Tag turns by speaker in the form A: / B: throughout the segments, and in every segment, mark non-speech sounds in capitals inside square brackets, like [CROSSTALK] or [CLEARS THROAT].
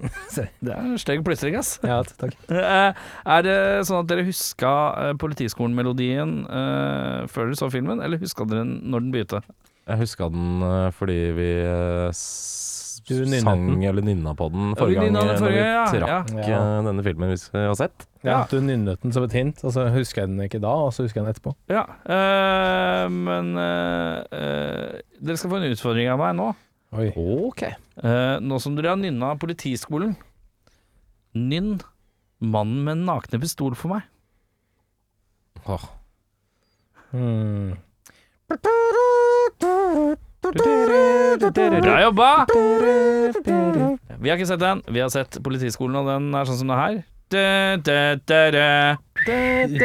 A: [LAUGHS] Se, Det er en stygg plystring, ass.
B: Ja, takk.
A: [LAUGHS] Eh, er det sånn at dere huska eh, Politiskolen-melodien eh, før dere så filmen, eller huska dere den når den begynte?
C: Jeg huska den eh, fordi vi eh, s-
B: Du nynnet
C: sang
B: den.
C: eller nynna på den
A: vi
C: forrige gang
A: nynna den
C: eh,
A: forrige, ja,
C: når vi trakk
B: ja.
C: eh, denne filmen vi s- har sett.
B: Ja, du nynnet den som et hint, og så husker jeg den ikke da, og så husker jeg den etterpå.
A: Ja. eh, men eh, eh, dere skal få en utfordring av meg nå.
B: Oi.
C: Ok.
A: Eh, nå som dere har nynna Politiskolen, nynn 'Mannen med den nakne pistol' for meg.
C: Åh.
B: Hmm.
A: Bra jobba! Vi har ikke sett den. Vi har sett Politiskolen, og den er sånn som det er her. Da, da, da, da.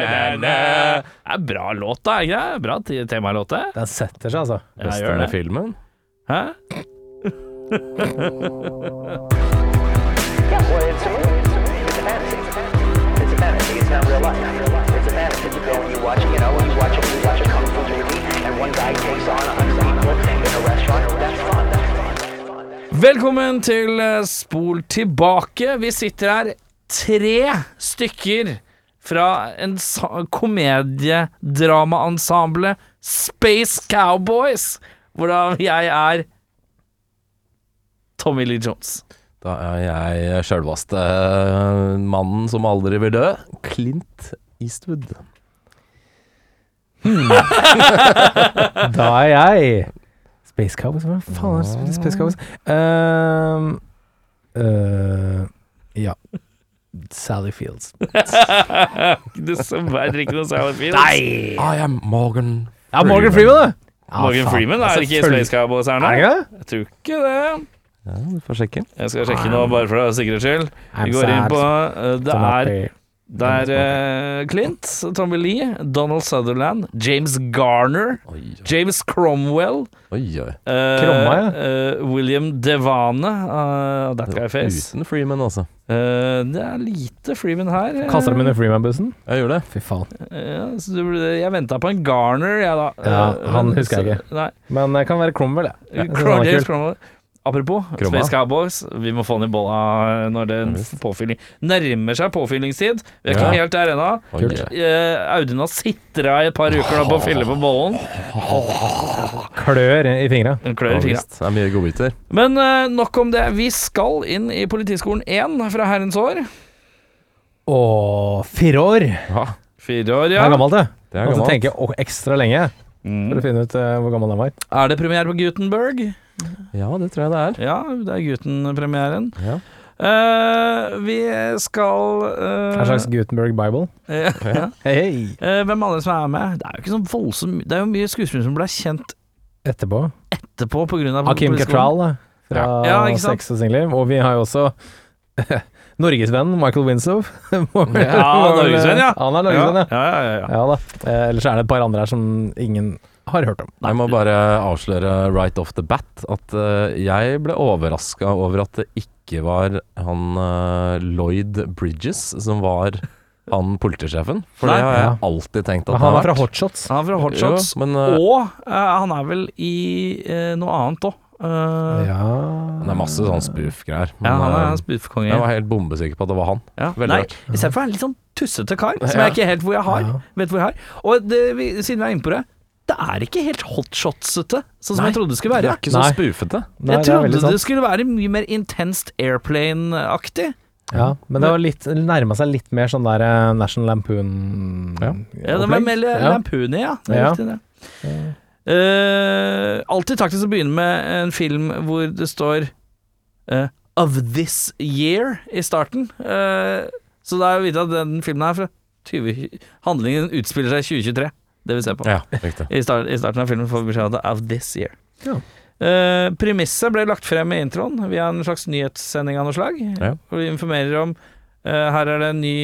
A: Det er bra låt, da. Ikke? det? Bra te- temalåt, det.
B: Den setter seg, altså.
A: Ja,
C: Beste
A: gjør
C: med
A: det.
C: filmen?
A: Hæ?
D: Yeah, well, it's a movie. It's a movie. It's a fantasy. It's a fantasy. It's not real life. It's a fantasy. You go and you watch, you know, you watch, you watch a kung fu movie, and one guy takes on a hundred people in a restaurant. That's fun. That's fun. That's fun.
A: Velkommen til eh, Spol tilbake. Vi sitter her tre stykker fra en sa- komediedramaensemble Space Cowboys, hvordan jeg er Tommy Lee Jones.
C: Da er jeg sjølvaste eh, mannen som aldri vil dø. Clint Eastwood.
B: Da er jeg Space Cowboys? Hva faen er det som heter Space Cowboys? Ehm, øh, ja. Sally Fields.
A: Dessverre ikke noe særlig fint. Nei!
C: I am Morgan.
B: Ja, Morgan Freeman, da! Ja,
A: Morgan
B: faen.
A: Freeman er ikke i
B: Selvfølgelig.
A: Space Cowboys her nå.
B: Er det
A: Jeg tror ikke
B: ikke det?
A: det.
C: Ja, du får sjekke.
A: Jeg skal sjekke nå, bare for sikkerhets skyld. Vi
B: I'm
A: går inn
B: sad.
A: på eh, Det
B: Som
A: er
B: oppi-
A: Det er eh, Clint, Tommy Lee, Donald Sutherland, James Garner,
C: Oi,
A: James Cromwell
C: oi, oi.
A: eh,
B: Kromma, ja.
A: eh, William Devane uh, That guy face.
C: Uten Freeman, altså.
A: Eh, det er lite Freeman her. eh.
B: Kaster dem under Freeman-bussen?
C: Jeg gjør det.
B: Fy faen.
A: Ja, så du, jeg venta på en Garner, jeg da.
B: Ja,
A: Eh,
B: han
A: men-
B: husker jeg
A: så- Nei.
B: Men det kan være Cromwell, ja. Jeg synes han
A: Crom-
B: er
A: James
B: kul.
A: Cromwell. Apropos
C: Kromma.
A: Space Cowboys, vi må få den i bolla når den påfylling nærmer seg påfyllingstid. Vi er ikke
C: Ja.
A: helt der ennå.
C: Oi,
B: Kult.
C: oi.
A: Eh, Audun har sitra i et par uker da på å fylle på bollen.
B: Klør i fingra.
A: Hun klør i
C: Ja,
A: fingra.
C: visst. Det er mye godbiter.
A: Men eh, nok om det. Vi skal inn i Politiskolen 1 fra herrens år.
B: Åh, fire år!
C: Ja,
A: Fire år,
B: Det
A: ja. Mm.
B: er gammelt, det.
C: det er
B: Måtte
C: gammelt.
B: tenke å- ekstra lenge for å finne ut eh, hvor gammel den var.
A: Er det premiere på Gutenberg?
C: Ja, det tror jeg det er.
A: Ja, det er Guten-premieren.
C: Ja.
A: Eh, vi skal eh,
B: En
A: [LAUGHS]
B: slags Gutenberg Bible.
A: ja.
B: Hei!
A: Eh, Hvem andre som er med? Det er jo ikke sånn voldsom Det er jo mye skuespillere som ble kjent
B: Etterpå.
A: Mm, etterpå pga.
B: Hakim Katral da, fra
A: Ja, ikke sant?
B: Sex og singelliv. Og vi har jo også [LAUGHS] norgesvennen Michael Winslow. [LAUGHS] ja,
A: Norgesvenn, ja.
B: Han er
A: Ja,
B: norgesvenn,
A: ja,
B: ja.
A: ja, ja, ja.
B: ja da. Eh, ellers er det et par andre her som ingen har hørt om.
C: Jeg må bare avsløre right off the bat at eh, jeg ble overraska over at det ikke var han eh, Lloyd Bridges som var han politisjefen. For
A: Nei.
C: det har jeg
B: Ja.
C: alltid tenkt at
B: Men
C: har
B: han er fra
C: vært.
B: Hotshots.
A: Han er fra Hot
C: Jo,
A: Shots.
C: men eh,
A: Og eh, han er vel i eh, noe annet òg.
B: Ja
C: det er masse sånn spoof-greier.
A: ja,
C: Men,
A: han
C: eh,
A: er spoof-konge.
C: jeg var helt bombesikker på at det var han.
A: Ja.
C: Veldig
A: Nei,
C: rart.
A: istedenfor en litt sånn tussete kar, som jeg ikke helt hvor jeg har,
B: Ja.
A: vet hvor jeg har. Og det, vi, siden vi er inne på det, det er ikke helt hotshotsete, sånn som jeg trodde det skulle
C: Det
A: være.
C: er ikke så
B: Nei.
C: spoofete.
B: Nei,
A: jeg
B: det er
A: trodde
B: veldig
A: det,
B: sant.
A: skulle være mye mer intenst airplane-aktig.
B: Ja, men det var litt, nærma seg litt mer sånn der eh, National Lampoon
C: Ja.
A: Ja, det var
B: opplegg.
A: mer
B: Ja.
A: Lampuni, ja. Det er
B: Ja.
A: riktig, det. Eh, alltid taktisk å begynne med en film hvor det står eh, Of This Year i starten. Eh, så det er jo vite at den filmen her er fra 20, handlingen utspiller seg i 2023. Det vi ser på.
C: Ja, riktig.
A: I, start, I starten av filmen får vi beskjed om at det er of this year.
B: Ja.
A: Eh, premisset ble lagt frem i introen via en slags nyhetssending av noe slag.
C: Ja.
A: Hvor vi informerer om eh, her er det en ny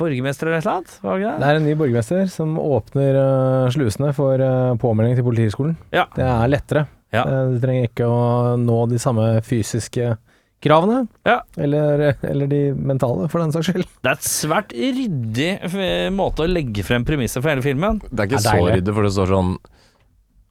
A: borgermester eller et eller annet. Var det ikke
B: Det
A: det?
B: er en ny borgermester som åpner eh, slusene for eh, påmelding til politihøgskolen.
A: Ja.
B: Det er lettere.
A: Ja.
B: Eh, du trenger ikke å nå de samme fysiske kravene.
A: Ja.
B: Eller, eller de mentale, for den saks skyld.
A: Det er et svært ryddig eh, måte å legge frem premisset for hele filmen.
C: [LAUGHS] Det er ikke
B: Ja,
C: så
B: deilig.
C: ryddig, for det står sånn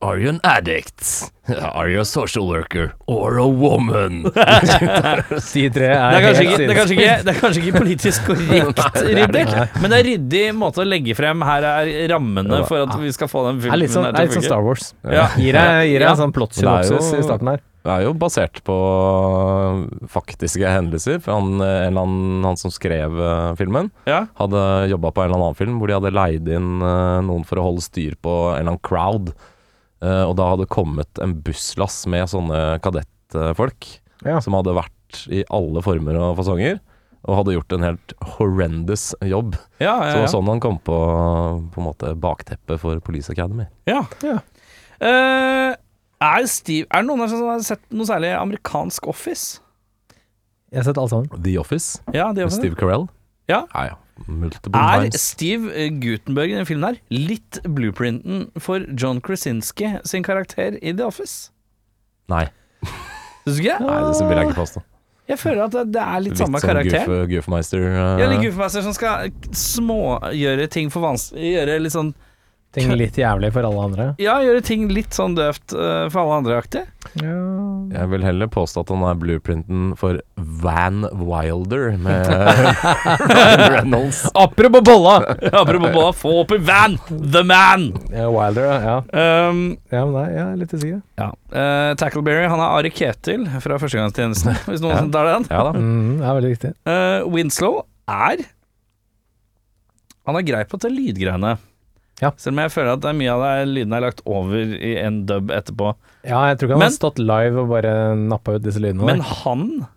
C: Are you an addict? [LAUGHS] Are you a social worker? Or a woman?
B: De tre
A: Det er, kanskje ikke, det, er
B: sinnssykt.
A: kanskje ikke, det er kanskje ikke
B: [LAUGHS]
A: politisk korrekt ryddig, men det er ryddig måte å legge frem. Her er rammene for at vi skal få den
B: Det er
A: filmen
B: litt sånn,
A: her
B: det er litt
A: til å
B: sånn
A: funke.
B: Star Wars.
A: Ja.
B: Gir deg, gir deg
A: Ja.
B: en sånn plott
C: Det er jo-
B: synopsis i starten her.
C: Det er jo basert på øh, faktiske hendelser. For han, eh, en eller annen, han som skrev eh, filmen,
A: Ja.
C: hadde jobba på en eller annen film hvor de hadde leid inn eh, noen for å holde styr på en eller annen crowd. Eh, og da hadde kommet en busslass med sånne kadettfolk
B: Ja.
C: som hadde vært i alle former og fasonger. Og hadde gjort en helt horrendous jobb.
A: Ja,
C: Så
A: ja,
C: det
A: ja.
C: var sånn han kom på På en måte bakteppet for Police Academy.
A: Ja.
B: sånn. Ja.
A: Eh, er, Steve, er det noen her som har sett noe særlig amerikansk Office?
B: Jeg har sett alle sammen.
C: The Office,
A: Ja, det
C: med
A: gjør det.
C: Steve Carell.
A: Ja.
C: ja. Multiple
A: Er
C: times.
A: Steve eh, Gutenberg i denne filmen her litt blueprinten for John Krasinski sin karakter i The Office?
C: Nei,
A: Syns du ikke?
C: nei, det vil jeg ikke påstå.
A: Jeg føler at det, det er litt,
C: Litt
A: samme
C: sånn
A: karakter.
C: Goof, goofmeister. eh,
A: Ja, litt guffemester som skal smågjøre ting for vanskelig Gjøre litt sånn
B: Ting litt jævlig for alle andre.
A: Ja, gjøre ting litt sånn døvt eh, for alle andre aktig.
C: Jeg vil heller påstå at han er blueprinten for Van Wilder med [LAUGHS] Ryan Reynolds.
B: Apropos bolla!
A: Apropos bare få opp i van! The man!
B: [LAUGHS] Ja, Wilder, ja.
A: Um,
B: ja men nei, jeg er litt usikker.
A: ja. Eh, Tackleberry, han er Ari Ketil fra [LAUGHS] Førstegangstjenesten, hvis noen
C: Ja.
A: som tar den.
C: Ja da.
B: Mm, det er veldig riktig.
A: Eh, Winslow er Han er grei på det lydgreiene.
B: Ja.
A: Selv om jeg føler at det er mye av det er- lyden er lagt over i en dub etterpå.
B: Ja, jeg tror ikke han
A: Men-
B: har stått live og bare nappa ut disse lydene.
A: Men
B: der.
A: han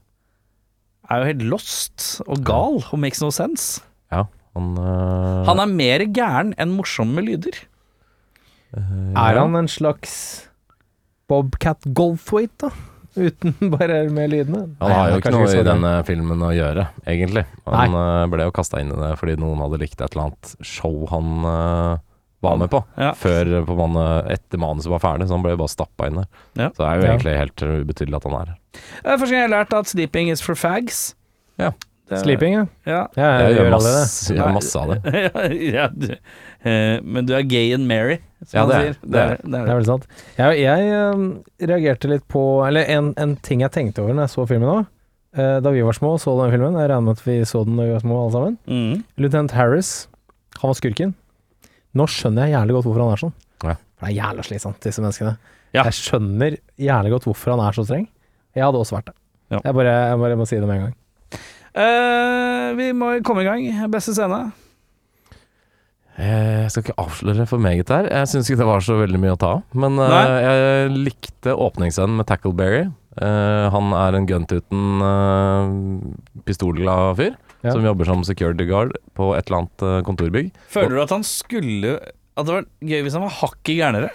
A: er jo helt lost og gal og makes no sense.
C: Ja, han, eh,
A: Han er mer gæren enn morsom med lyder.
B: er han en slags Bobcat Goldthwaite, da? Uten [LAUGHS] bare med lydene?
C: han har jo
B: Nei,
C: ikke
B: kanskje
C: noe i
B: så
C: denne filmen å gjøre, egentlig. Han eh, ble jo kasta inn i det fordi noen hadde likt et eller annet show han eh, var med på.
A: Ja.
C: Før eh, på man, eh, etter manuset var ferdig, så han ble jo bare stappa inn der.
A: Ja.
C: Så det er jo
B: Ja.
C: egentlig helt ubetydelig at han er her.
A: Det er første gang jeg har lært at sleeping is for fags.
C: Ja.
A: Det-
B: Sleeping, ja.
A: Ja. [LAUGHS]
B: ja jeg,
C: Jeg
B: gjør
C: eh, gjør
B: alle det.
C: masse, jeg gjør masse av det.
A: ja, du, eh, men du er gay and merry,
C: Ja,
A: som
C: det
A: han
C: er-
A: sier. Det er, det
B: Det er
A: er.
B: vel sant. Jeg, jeg eh, reagerte litt på Eller en, en ting jeg tenkte over når jeg så filmen òg. Da vi var små og så den filmen, jeg regner med at vi så den da vi var små alle sammen.
A: Mm.
B: Lieutenant Harris, han var skurken. Nå skjønner jeg jævlig godt hvorfor han er sånn.
C: Ja.
B: For det er jævla slitsomt, disse menneskene.
A: Ja.
B: Jeg skjønner jævlig godt hvorfor han er så streng. Jeg hadde også vært det.
A: Ja.
B: Jeg, bare, jeg bare må si det med en gang.
A: Eh, vi må komme i gang. Beste scene.
C: Eh, Jeg skal ikke avsløre for meget her. Jeg syns ikke det var så veldig mye å ta av. Men eh,
A: Nei.
C: jeg likte åpningsscenen med Tackleberry. Eh, han er en guntuten, uh, pistolglad fyr
B: Ja.
C: som jobber som security guard på et eller annet eh, kontorbygg.
A: Føler du at han skulle At det var gøy hvis han var hakket gærnere?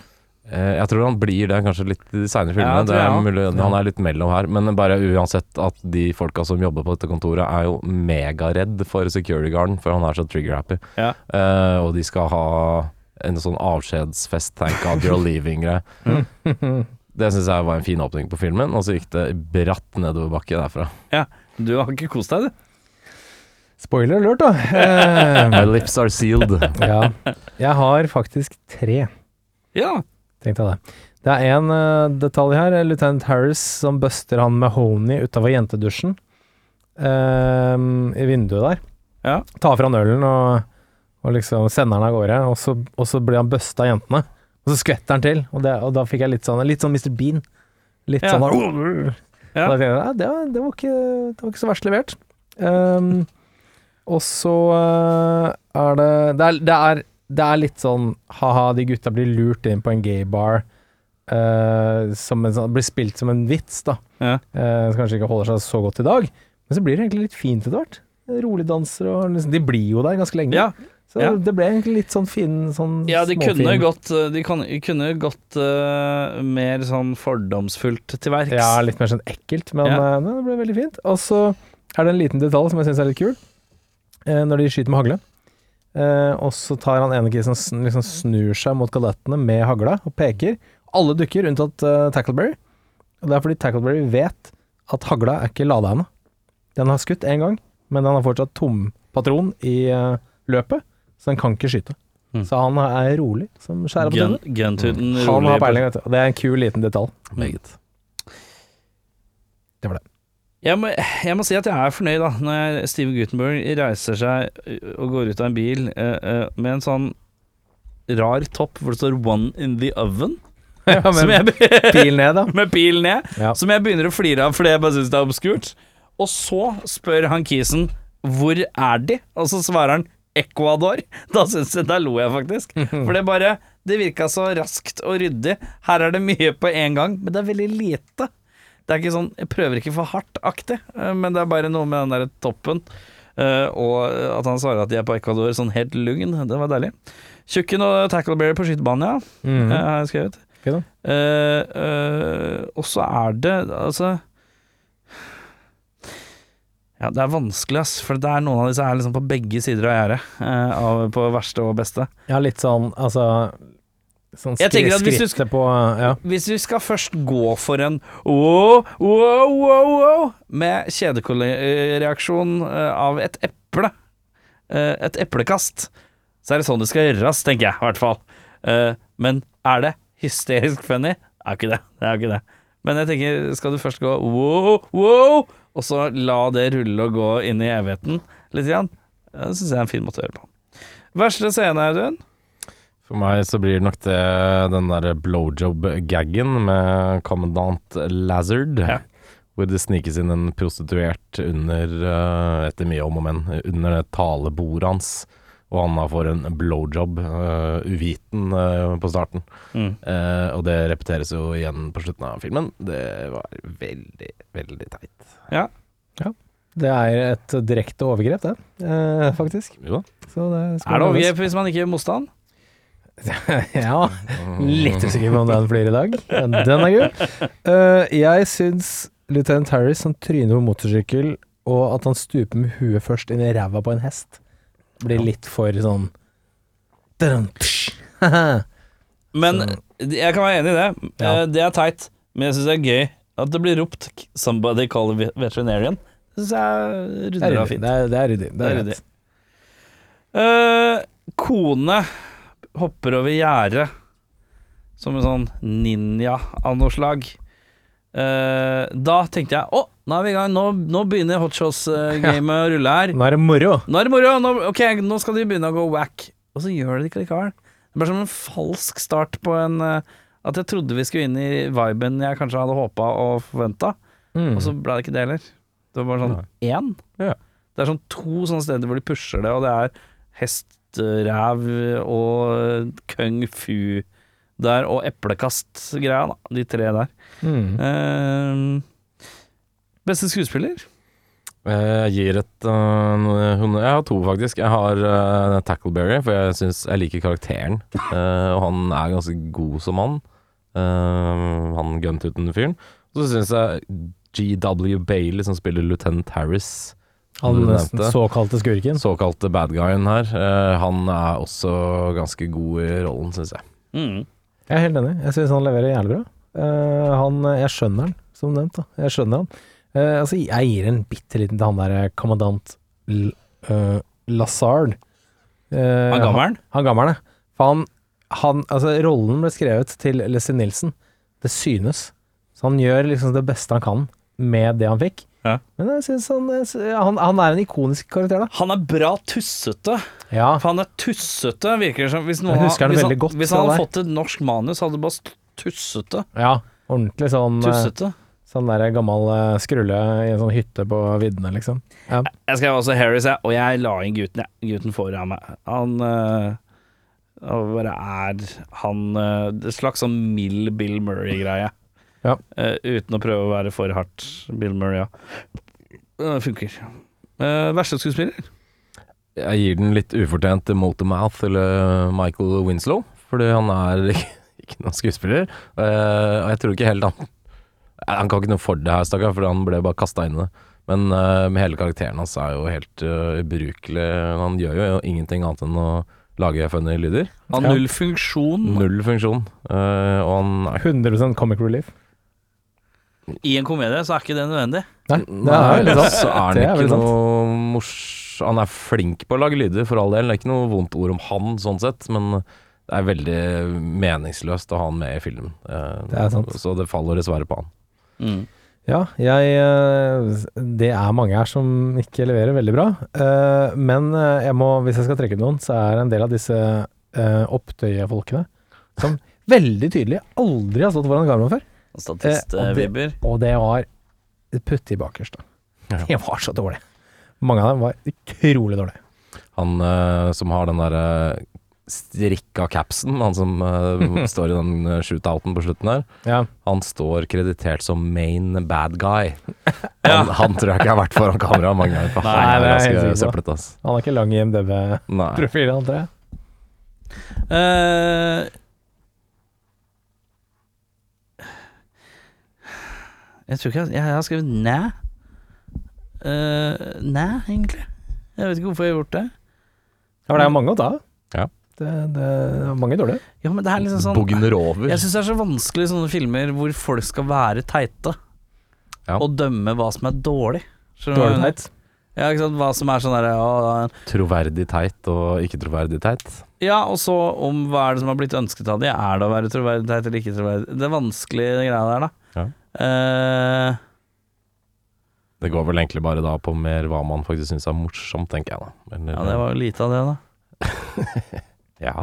C: Eh, jeg tror han blir det kanskje litt i de seinere
A: Ja,
C: filmene.
A: jeg
C: det
A: tror
C: er
A: jeg
C: mulig, han er litt mellom her. Men bare uansett at de folka som jobber på dette kontoret, er jo megaredd for security guarden, for han er så trigger-happy.
A: Ja.
C: Eh, og de skal ha en sånn avskjedsfest, thank god
A: [LAUGHS]
C: you're leaving-greie. Det syns jeg var en fin åpning på filmen, og så gikk det bratt nedoverbakke derfra.
A: Ja. Du har ikke kost deg, du?
B: Spoiler alert, da.
A: [LAUGHS]
C: My lips are sealed.
B: Eh, ja. Jeg har faktisk tre.
A: Ja.
B: Tenkte jeg det. Det er en eh, detalj her. Lieutenant Harris som buster han Mahoney utafor jentedusjen. ehm, I vinduet der.
A: Ja.
B: Tar fra han ølen og, og liksom sender han av gårde. Og så, og så blir han busta av jentene. Og så skvetter han til. Og, det, og da fikk jeg litt sånn Litt sånn Mr. Bean. Litt
A: Ja.
B: sånn der,
A: Ja.
B: Da tenkte jeg, ja, det, var, det, var ikke, det var ikke så verst levert. Ehm, og så eh, er det det er, det er det er litt sånn ha-ha, de gutta blir lurt inn på en gaybar. Uh, som en sånn, blir spilt som en vits, da.
A: Ja.
B: Eh, som kanskje ikke holder seg så godt i dag, men så blir det egentlig litt fint etter hvert. rolig danser og liksom, De blir jo der ganske lenge.
A: Ja,
B: så
A: ja.
B: det ble egentlig litt sånn fin sånn
A: ja de kunne
B: småfin-
A: gått, de kan, kunne gått eh, mer sånn fordomsfullt til verks.
B: Ja, litt mer sånn ekkelt, men
A: Ja.
B: eh, nei, det ble veldig fint. Og så er det en liten detalj som jeg syns er litt kul, eh, når de skyter med hagle. Eh, og så tar han ene kisen og sn- liksom snur seg mot kadettene med hagla og peker. Alle dukker, unntatt eh, Tackleberry. Og det er fordi Tackleberry vet at hagla er ikke lada ennå. Den har skutt én gang, men den har fortsatt tom patron i eh, løpet, så den kan ikke skyte.
A: Mm.
B: Så han er rolig som skjærer på
A: Gun,
B: tennene.
A: guntuten
B: Han
A: rolig
B: har
A: på-
B: peiling, vet du. Og det er en kul liten detalj.
C: Meget.
A: Jeg må, jeg må si at jeg er fornøyd da når jeg- Steve Gutenberg reiser seg ø, og går ut av en bil ø, ø, med en sånn rar topp hvor det står 'One in the
B: [LAUGHS]
A: oven', som jeg, be-
B: Pil
A: [LAUGHS]
B: ned, da.
A: med pil ned,
B: Ja.
A: som jeg begynner å flire av fordi jeg bare syns det er obskurt. Og så spør han kisen 'Hvor er de?' og så svarer han 'Ecuador'. [LAUGHS] Da synes jeg, da lo jeg faktisk. For det bare Det virka så raskt og ryddig. Her er det mye på én gang, men det er veldig lite. Det er ikke sånn Jeg prøver ikke for hardt-aktig, eh, men det er bare noe med den der toppen. eh, og at han svarer at de er på Ecuador, sånn helt lugn. Det var deilig. Tjukken og Tackleberry på skytebanen, ja. eh,
B: Mhm.
A: har jeg skrevet.
B: Fint da.
A: Eh, eh, og så er det altså Ja, det er vanskelig, ass. For det er noen av disse er liksom på begge sider av gjerdet. eh, av- på verste og beste.
B: Ja, litt sånn, altså Sånn skri
A: Jeg tenker at hvis du
B: skrittet på Ja.
A: Hvis vi skal først gå for en wow, wow, wow, wow med kjedereaksjon av et eple, eh, et eplekast, så er det sånn det skal gjøres, tenker jeg, i hvert fall. Eh, Men er det hysterisk funny? Det er jo ikke det. det, er jo ikke det. Men jeg tenker, skal du først gå wow, wow, og så la det rulle og gå inn i evigheten litt, grann, eh, det syns jeg er en fin måte å gjøre det på. Verste scene, Audun?
C: For meg så blir det nok det den derre blowjob-gaggen med kommandant Lazard.
A: Ja.
C: Hvor det snikes inn en prostituert under, eh, etter mye om og men, under det talebordet hans. Og han da får en blowjob, eh, uviten, eh, på starten.
A: Mm.
C: Eh, og det repeteres jo igjen på slutten av filmen. Det var veldig, veldig teit.
B: Det er et direkte overgrep, det. Eh, faktisk.
C: Jo da.
B: Så det
A: Er det overgrep hvis man ikke gjør motstand?
B: [LAUGHS] ja. Litt usikker på om den flyr i dag. men Den er gul. Eh, jeg syns løytnant Harris som tryner på motorsykkel, og at han stuper med huet først inn i ræva på en hest, blir litt for sånn Dun, psh.
A: Men
B: Så-
A: jeg kan være enig i det.
B: Ja.
A: Eh, Det er teit, men jeg syns det er gøy at det blir ropt k- 'somebody call a ve- veterinarian'. Det syns jeg
B: Det er
A: runder av
B: ryddig.
A: fint.
B: Det er- det er ryddig. Det
A: Det er
B: er rett.
A: Eh, kone hopper over gjerdet som en sånn ninja av noe slag. Eh, da tenkte jeg å, nå er vi i gang. Nå, nå begynner hotshots-gamet å rulle her.
B: Nå er det moro.
A: Nå er det moro! Nå, ok, nå skal de begynne å gå whack. Og så gjør de det ikke likevel. Det ble som en falsk start på en eh, At jeg trodde vi skulle inn i viben jeg kanskje hadde håpa og forventa, og så ble det ikke det heller. Det var bare sånn én.
C: Ja.
A: Det er sånn to sånne steder hvor de pusher det, og det er hesteræv og kung fu der, og eplekast-greia, da. De tre der.
B: Mm.
A: Eh, beste skuespiller?
C: Eh, Jeg gir et øh, noe- hun, Jeg har to, faktisk. Jeg har øh, Tackleberry, for jeg syns jeg liker karakteren. Eh, og han er ganske god som mann. Eh, han guntuten-fyren. Og så syns jeg GW Bailey, som spiller Lieutenant Harris, som
B: Han
C: du nevnte,
B: såkalte skurken.
C: den såkalte bad guyen her, eh, han er også ganske god i rollen, syns jeg.
A: Mm.
B: Jeg er helt enig. Jeg syns han leverer jævlig bra. Eh, han, jeg skjønner han, som nevnt. da. Jeg skjønner han. Eh, altså, jeg gir en bitte liten til han der eh, kommandant L eh, Lazard. Eh,
A: Han gammer'n?
B: Han gammer'n, ja. For han, han Altså, rollen ble skrevet til Leslie Nilsen. Det synes. Så han gjør liksom det beste han kan med det han fikk.
A: Ja.
B: Men jeg synes han, jeg sy- han Han er en ikonisk karakter, da.
A: Han er bra tussete.
B: Ja.
A: For han er tussete, virker det som. Hvis, noen,
B: Jeg husker han
A: hvis,
B: veldig godt,
A: hvis han hadde
B: det der.
A: fått et norsk manus, hadde det bare stått tussete.
B: ja. Ordentlig sånn eh,
A: tussete.
B: Sånn der gammel eh, skrulle i en sånn hytte på viddene, liksom. Ja.
A: Jeg skrev også Harris, jeg, og jeg la inn gutten, jeg. Gutten foran meg. Han øh, han bare er han øh, Det er slags sånn mild Bill Murray-greie.
B: Ja.
A: Eh, uten å prøve å være for hardt Bill Murray, ja. Det funker. Uh, verste skuespiller?
C: Jeg gir den litt ufortjent til Motormouth eller eh, Michael Winslow, fordi han er [LAUGHS] ikke, ikke noen skuespiller. Eh, og jeg tror ikke helt han eh, Han kan ikke noe for det her, stakkar, for han ble bare kasta inn i det. Men eh, med hele karakteren hans er jo helt eh, ubrukelig. Han gjør jo ingenting annet enn å lage funny lyder.
A: Av
B: Ja. Mm.
A: null funksjon
C: Null funksjon. Eh, og han er
B: 100 comic relief.
A: i en komedie, så er ikke det nødvendig.
B: Nei, det er sånn.
C: Nei,
B: veldig sant.
C: så er
B: Det
C: han
B: er
C: ikke
B: veldig sant.
C: noe mors... Han er flink på å lage lyder, for all del. Det er ikke noe vondt ord om han, sånn sett, men det er veldig meningsløst å ha han med i filmen. Eh,
B: Det er sant.
C: Så det faller dessverre på han.
A: Mm.
B: Ja, jeg eh, Det er mange her som ikke leverer veldig bra. Eh, Men eh, jeg må, hvis jeg skal trekke ut noen, så er det en del av disse eh, opptøyefolkene som veldig tydelig aldri har stått foran kamera før. Eh, og det-
A: Statistviber.
B: Og det var putte i bakerst, da.
C: Ja.
B: [LAUGHS] Det var så dårlig. Mange av dem var utrolig dårlige.
C: Han eh, som har den derre strikka capsen, han som
B: [LAUGHS]
C: eh, står i den eh, shootouten på slutten der,
B: Ja.
C: han står kreditert som main bad guy. Han, han tror jeg ikke har vært foran kamera mange ganger, for han
B: Nei,
C: er
B: det er jeg
C: ganske
B: helt sikker
C: søplete, ass.
B: Han er ikke lang i MDB-profilen,
C: Nei.
B: antar jeg.
A: Eh, jeg tror ikke jeg, jeg har skrevet næ. Eh, næ, egentlig. Jeg vet ikke hvorfor jeg har gjort det.
B: Ja, for det er mange å ta av.
C: Ja.
B: Det, det er mange dårlige.
A: Ja, men det er liksom sånn
C: Bugner over.
A: Jeg syns det er så vanskelig i sånne filmer hvor folk skal være teite,
C: Ja.
A: og dømme hva som er dårlig. Skjønner du hva jeg
B: Dårlig
A: mener?
B: teit.
A: Ja, ikke sant? Hva som er sånn derre ja,
C: Troverdig teit og ikke troverdig teit.
A: Ja, og så om hva er det som har blitt ønsket av de Er det å være troverdig teit eller ikke troverdig? Det er vanskelig det greia der, da.
C: Ja.
A: Eh,
C: Det går vel egentlig bare da på mer hva man faktisk syns er morsomt, tenker jeg da. Eller-
A: ja, det var jo lite av det, da.
C: Ja.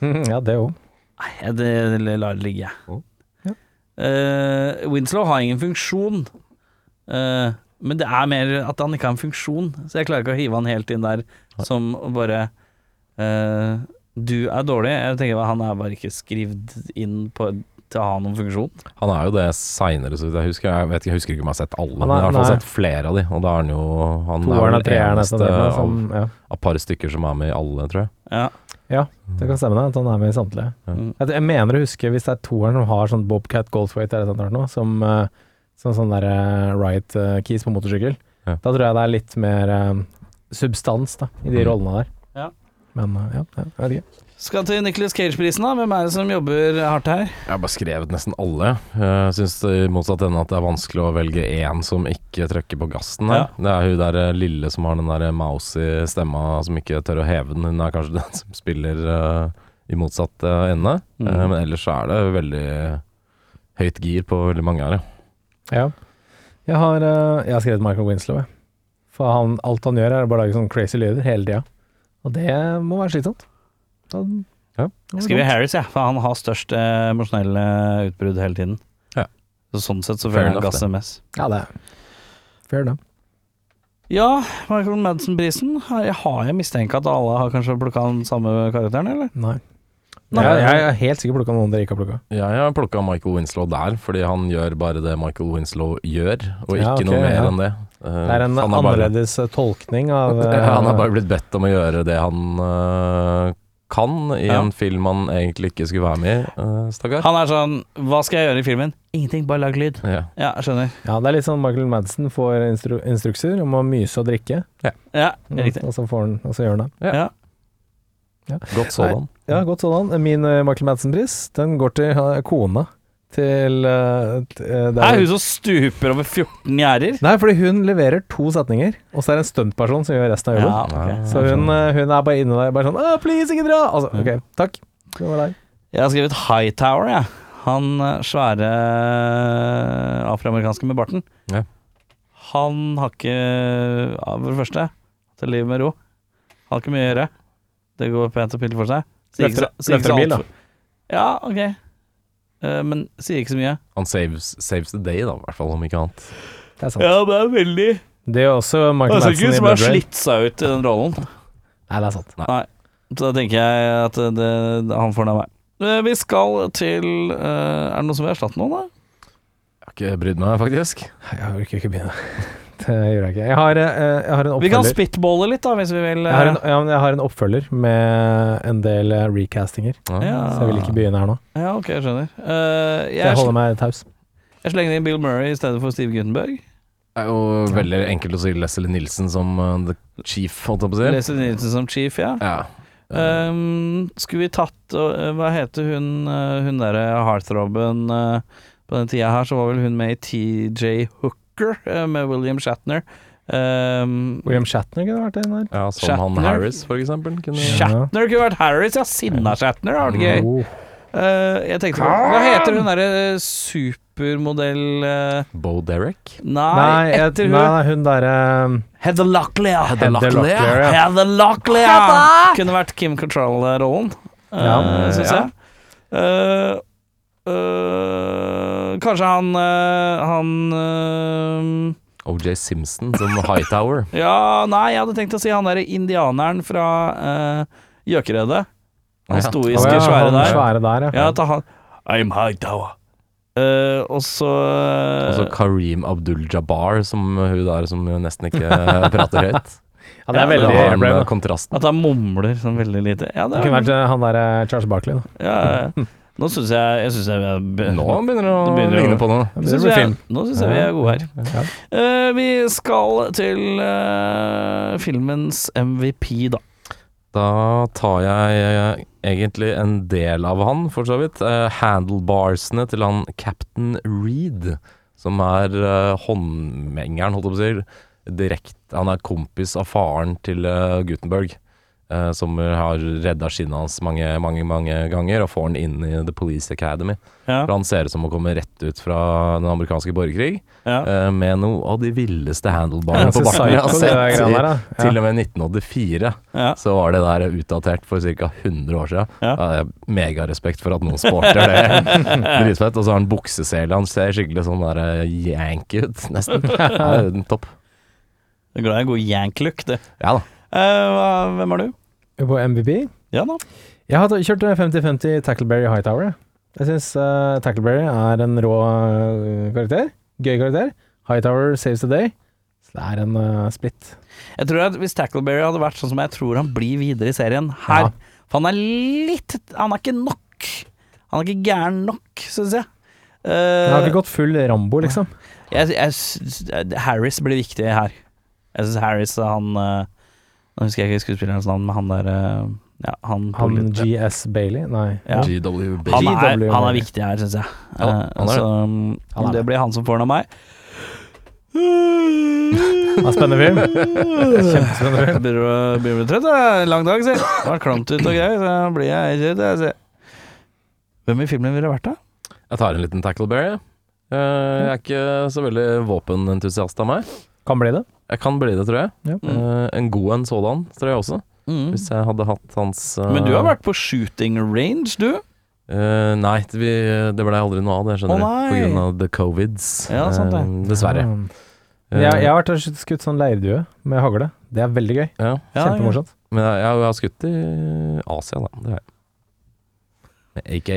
B: Mm. [LAUGHS] Ja, det òg.
A: Nei, jeg- det det lar det ligge, jeg.
C: Mm.
B: Ja.
A: Eh, Winslow har ingen funksjon, Eh, men det er mer at han ikke har en funksjon, så jeg klarer ikke å hive han helt inn der som bare eh, Du er dårlig. Jeg tenker at Han er bare ikke skrevet inn på, til å ha noen funksjon.
C: Han er jo det seinere, så vidt jeg husker. Jeg, vet ikke, jeg husker ikke om jeg har sett alle, men jeg har i hvert
B: nei.
C: fall sett flere av de. Og da er han jo Han er
B: Toeren
C: vel
B: og treeren.
C: eneste Mm.
B: nesten, det er sånn noe
C: av,
B: som- Ja.
C: av par stykker som er med i alle, tror jeg.
A: Ja.
B: Det kan stemme det, at han er med i samtlige.
C: Ja.
A: Mm.
B: Jeg, jeg mener å huske, hvis det er toeren som har sånn Bobcat Goldthwait eller noe sånt, som, eh, som sånn der eh, riot eh, keys på motorsykkel,
C: Ja.
B: da tror jeg det er litt mer eh, substans da, i de
C: Mm.
B: rollene der.
A: Ja.
B: Men eh, ja, jeg vet ikke.
A: Skal til Nicholas Cage-prisen, da. Hvem er det som jobber hardt her?
C: Jeg har bare skrevet nesten alle. Jeg syns i motsatt ende at det er vanskelig å velge én som ikke trykker på gassen her. Det er hun der eh, lille som har den der mousy stemma som ikke tør å heve den. Hun er kanskje [LAUGHS] den som spiller eh, i motsatt eh, ende.
A: Mm.
C: Eh, men ellers så er det veldig høyt gir på veldig mange her, ja.
B: Ja. Jeg har, eh, jeg har skrevet Michael Winslow, jeg. For han, alt han gjør, er å bare lage sånne crazy lyder hele tida. Og det må være slitsomt. Da,
C: Ja.
B: da-
A: Jeg skriver Harris, jeg, for han har størst eh, emosjonelle utbrudd hele tiden.
C: Ja.
A: Så sånn sett så
C: Fair
A: føler jeg
C: enough,
A: gasset mest.
B: Ja, det er fair, det.
A: Ja, Michael Madsen-prisen. Har jeg, har jeg mistenkt at alle har kanskje plukka den samme karakteren, eller?
B: Nei.
A: Nei.
B: Jeg, jeg er helt sikkert plukka noen dere ikke har plukka.
C: Jeg har plukka Michael Winslow der, fordi han gjør bare det Michael Winslow gjør, og ikke
B: Ja, ok,
C: noe mer
B: ja.
C: enn det. Eh,
B: Det er en
C: han bare-
B: annerledes eh,
A: [LAUGHS]
B: tolkning
C: [LAUGHS]
B: av eh,
C: Ja, han har bare blitt bedt om å gjøre det han øh, kan i
A: Ja.
C: en film han egentlig ikke skulle være med i, øh, stakkar.
A: Han er sånn Hva skal jeg gjøre i filmen? Ingenting, bare lag lyd.
C: Ja.
A: Ja, skjønner.
B: Ja, det er litt sånn Michael Madsen får instru instrukser om å myse og drikke,
A: Ja,
B: Mm,
A: riktig.
B: og så, får han, og så gjør han det.
C: Godt sådan.
B: Ja, godt sådan. Min eh, Michael Madsen-pris, den går til eh, kona til eh, t- eh, det
A: Er hun som stuper over 14 gjerder?
B: Nei, fordi hun leverer to setninger, og så er det en stuntperson som gjør resten av jobben.
A: Ja, sånn. ok.
B: Så hun, eh, hun er bare inne der bare sånn «Åh, 'Please, ikke dra!' Altså,
A: Mm.
B: OK, takk. Det var deg.
A: Jeg har skrevet Hightower, jeg. Han eh, svære eh, afroamerikanske med barten.
C: Ja.
A: Han har ikke ja, For det første, til livet med ro. Han har ikke mye å gjøre. Det går pent og piller for seg. Sier ikke så- sier ikke så
B: Løfter bil,
A: alt
B: da.
A: for- Ja, ok. Eh, Men sier ikke så mye.
C: Han saves, saves the day, da, i hvert fall, om ikke annet.
B: Det er sant.
A: Ja, det er veldig
B: Det gjør også Michael
A: Altså,
B: Madsen
A: ikke
B: i
A: som har
B: Blood Rain.
A: slitt seg ut i den rollen.
B: Nei, det er sant.
A: Så da tenker jeg at det, det, han får den av meg. Eh, Vi skal til eh, Er det noen som vil erstatte noen, da?
C: Jeg har ikke brydd meg, faktisk.
B: Jeg orker ikke begynne. [LAUGHS] Det gjør jeg ikke. Jeg har, eh, jeg har en
A: Vi kan
B: oppfølger.
A: spitballe litt, da, hvis vi vil.
B: Jeg har, en, ja, men jeg har en oppfølger med en del eh, recastinger,
A: ja.
B: så jeg vil ikke begynne her nå.
A: Ja, ok, Ah. jeg skjønner. Eh,
B: Så jeg
A: jeg,
B: holder meg taus.
A: jeg slenger inn Bill Murray i stedet for Steve Gutenberg.
C: Det er jo veldig enkelt å si Leslie Nilsen som eh, the chief, holdt jeg på å si.
A: Leslie Nielsen som chief, ja.
C: Ja.
A: Um, skulle vi tatt uh, Hva heter hun uh, Hun derre heartthroben uh, På den tida her så var vel hun med i TJ Hooker uh, med William Shatner. Um,
B: William Shatner kunne vært en her.
C: ja, som
A: Shatner.
C: han Harris, for eksempel. Kunne,
A: Shatner kunne vært Harris, ja. Sinna Shatner, har vært gøy.
B: Oh.
A: Uh, jeg tenkte på Hva heter hun derre supermodell uh,
C: Bo Derek.
A: Nei,
B: Nei, jeg,
A: etter hun
B: nei, nei, hun derre um,
A: Heather Locklear.
C: Heather Locklear.
B: ja.
A: Heather Locklear kunne vært Kim Control-rollen, ja,
B: Ja.
A: syns
C: Ja.
A: jeg. Eh, eh, kanskje han eh, Han
C: OJ Simpson som Hightower.
A: eh, Ja, nei, jeg hadde tenkt å si han derre indianeren fra eh, Gjøkeredet. Han
C: Ja.
A: stoiske,
B: Å ja,
A: svære
B: han
A: der.
B: svære der, ja.
A: Ja, ta han. I'm Hightower. Eh, og så eh,
C: Og så Kareem Abdul-Jabbar, som hun der som jo nesten ikke [LAUGHS] prater høyt.
B: ja. Det er
C: Det
B: veldig
C: var den,
B: airbrave.
C: eh, kontrasten.
A: At han mumler sånn veldig lite. Ja, det
B: Det kunne vært eh, han derre Charles Barkley, da.
A: ja, ja. Nå syns jeg, jeg, synes jeg vi er-
C: Nå begynner det å
A: [LAUGHS] Nå begynner det å-
C: ligne på noe.
B: Det
A: Synes
B: blir
A: jeg-
B: film.
A: Nå syns jeg vi er gode her.
B: Ja.
A: Eh, vi skal til eh, filmens MVP, da.
C: Da tar jeg eh, egentlig en del av han, for så vidt. Eh, handlebarsene til han Captain Reed, som er eh, håndmengeren, holdt jeg på å si. Direkte Han er kompis av faren til eh, Gutenberg, eh, som har redda skinnet hans mange, mange, mange ganger, og får han inn i The Police Academy.
A: Ja,
C: For han ser ut som å komme rett ut fra den amerikanske borgerkrig,
A: ja.
C: eh, med noe av de villeste handlebarene på
B: Ganske
C: bakken jeg har
B: psycho, det der
C: sett. i-
B: greiene der, da. Ja.
C: Til og med 1984
A: ja.
C: så var det der utdatert for ca. 100 år siden.
A: Ja.
C: Da hadde jeg megarespekt for at noen sporter
A: [LAUGHS]
C: det. Dritfett. Og så har han buksesele, han ser skikkelig sånn der eh, yank ut, nesten.
A: [LAUGHS]
C: Ja, det er topp.
A: Jeg er glad i en god yank-look, det.
C: Ja da.
A: Eh, hva- hvem er du?
B: På MVP.
A: Ja da.
B: Jeg har kjørt 50-50 Tackleberry Hightower. jeg. Jeg syns eh, Tackleberry er en rå eh, karakter. Gøy karakter. Hightower saves the day. Så det er en eh, splitt.
A: Jeg tror at Hvis Tackleberry hadde vært sånn som jeg tror han blir videre i serien her
B: Ja.
A: For han er litt Han er ikke nok. Han er ikke gæren nok, syns jeg. Eh,
B: Den har ikke gått full Rambo, liksom.
A: Jeg, jeg, s- Harris blir viktig her. Jeg syns Harris han eh, Nå husker jeg ikke skuespillerens navn, men han der eh, ja, han, på
B: Han
A: litt-
B: GS Bailey, nei.
A: Ja.
C: GW
A: han,
C: Bailey.
A: er,
B: GW,
A: han
B: var
A: er
B: det.
A: viktig her, syns jeg.
C: Ja,
A: Eh,
C: han er
A: så mm,
B: Han er
A: om det blir han som får den av meg
B: [LAUGHS] Ja, spennende film. Kjempespennende film.
A: Begynner å- begynner å bli trøtt. Det er en lang dag, si. Det var klamt ut og greier, så blir jeg trøtt. jeg, si. Hvem i filmen ville vært da?
C: Jeg tar en liten Tackleberry. Eh, Jeg er ikke så veldig våpenentusiast av meg.
B: Kan bli det.
C: Jeg kan bli det, tror jeg.
B: Ja.
A: Mm.
C: Eh, En god en sådan, tror jeg også.
A: Mm.
C: Hvis jeg hadde hatt hans eh,
A: Men du har vært på shooting range, du.
C: Eh, nei, det vi, det ble aldri noe av det, skjønner
A: Å,
C: du. På
A: nei.
C: grunn av the covids.
A: Ja, sant det.
C: Eh, dessverre.
B: Mm.
C: Eh,
B: Jeg, jeg har vært og skutt- skutt sånn leirdue med hagle. Det er veldig gøy.
C: ja.
A: Ja, ja.
B: Kjempemorsomt.
C: Men jeg, jeg har skutt i Asia, da. Det har jeg. Med AK.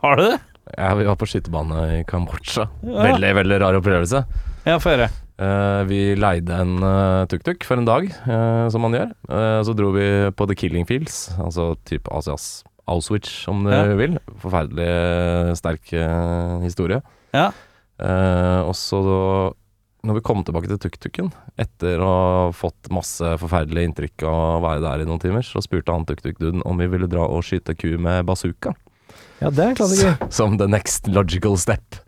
A: Har du det?
C: Ja, vi var på skytebane i Kambodsja. Veldig, veldig rar opplevelse.
A: Ja, få høre.
C: Eh, vi leide en eh, tuk-tuk for en dag, eh, som man gjør. Eh, så dro vi på The Killing Fields, altså type Asias Auschwitz, om du
A: Ja.
C: vil. Forferdelig eh, sterk eh, historie.
A: Ja.
C: Eh, og så da når vi kom tilbake til tuk-tuken, etter å ha fått masse forferdelige inntrykk av å være der i noen timer, så spurte han tuk-tuk-duden om vi ville dra og skyte ku med bazooka
B: Ja, det er klart det er gøy.
C: som the next logical step.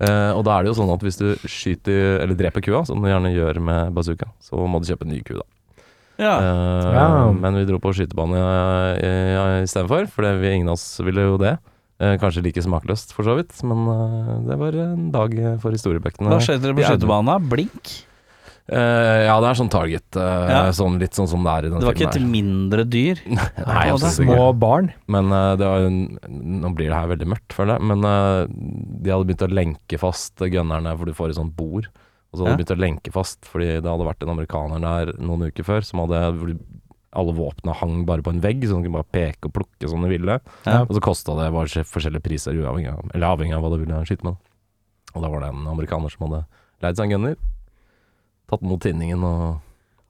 C: Eh, og da er det jo sånn at hvis du skyter, eller dreper kua, som du gjerne gjør med bazooka, så må du kjøpe en ny ku, da.
A: Ja.
C: Eh,
B: Ja.
C: Men vi dro på skytebane eh, istedenfor, for det, vi, ingen av oss ville jo det. Eh, kanskje like smakløst, for så vidt, men eh, det var en dag eh, for historiebøkene.
A: Hva skjedde dere på
C: Ja, det-
A: skøytebanen? Blink?
C: Eh, ja, det er sånn target, eh,
A: Ja.
C: sånn, litt sånn som det er i den
A: Det var ikke et
C: filmen.
A: mindre dyr.
C: her. [LAUGHS] Nei,
A: Ja, det er
C: absolutt ikke.
B: Små barn.
C: Men eh, det var en, nå blir det her veldig mørkt, føler jeg. Men eh, de hadde begynt å lenke fast gunnerne, for du får et sånt bord. Og så hadde de begynt å lenke fast, fordi det hadde vært en amerikaner der noen uker før som hadde hvor alle våpnene hang bare på en vegg, så de kunne bare peke og plukke som de ville.
A: Ja.
C: Og så kosta det bare skje- forskjellige priser, uavhengig av, eller avhengig av hva du ville skyte med. da. Og da var det en amerikaner som hadde leid seg en gunner, tatt mot tinningen og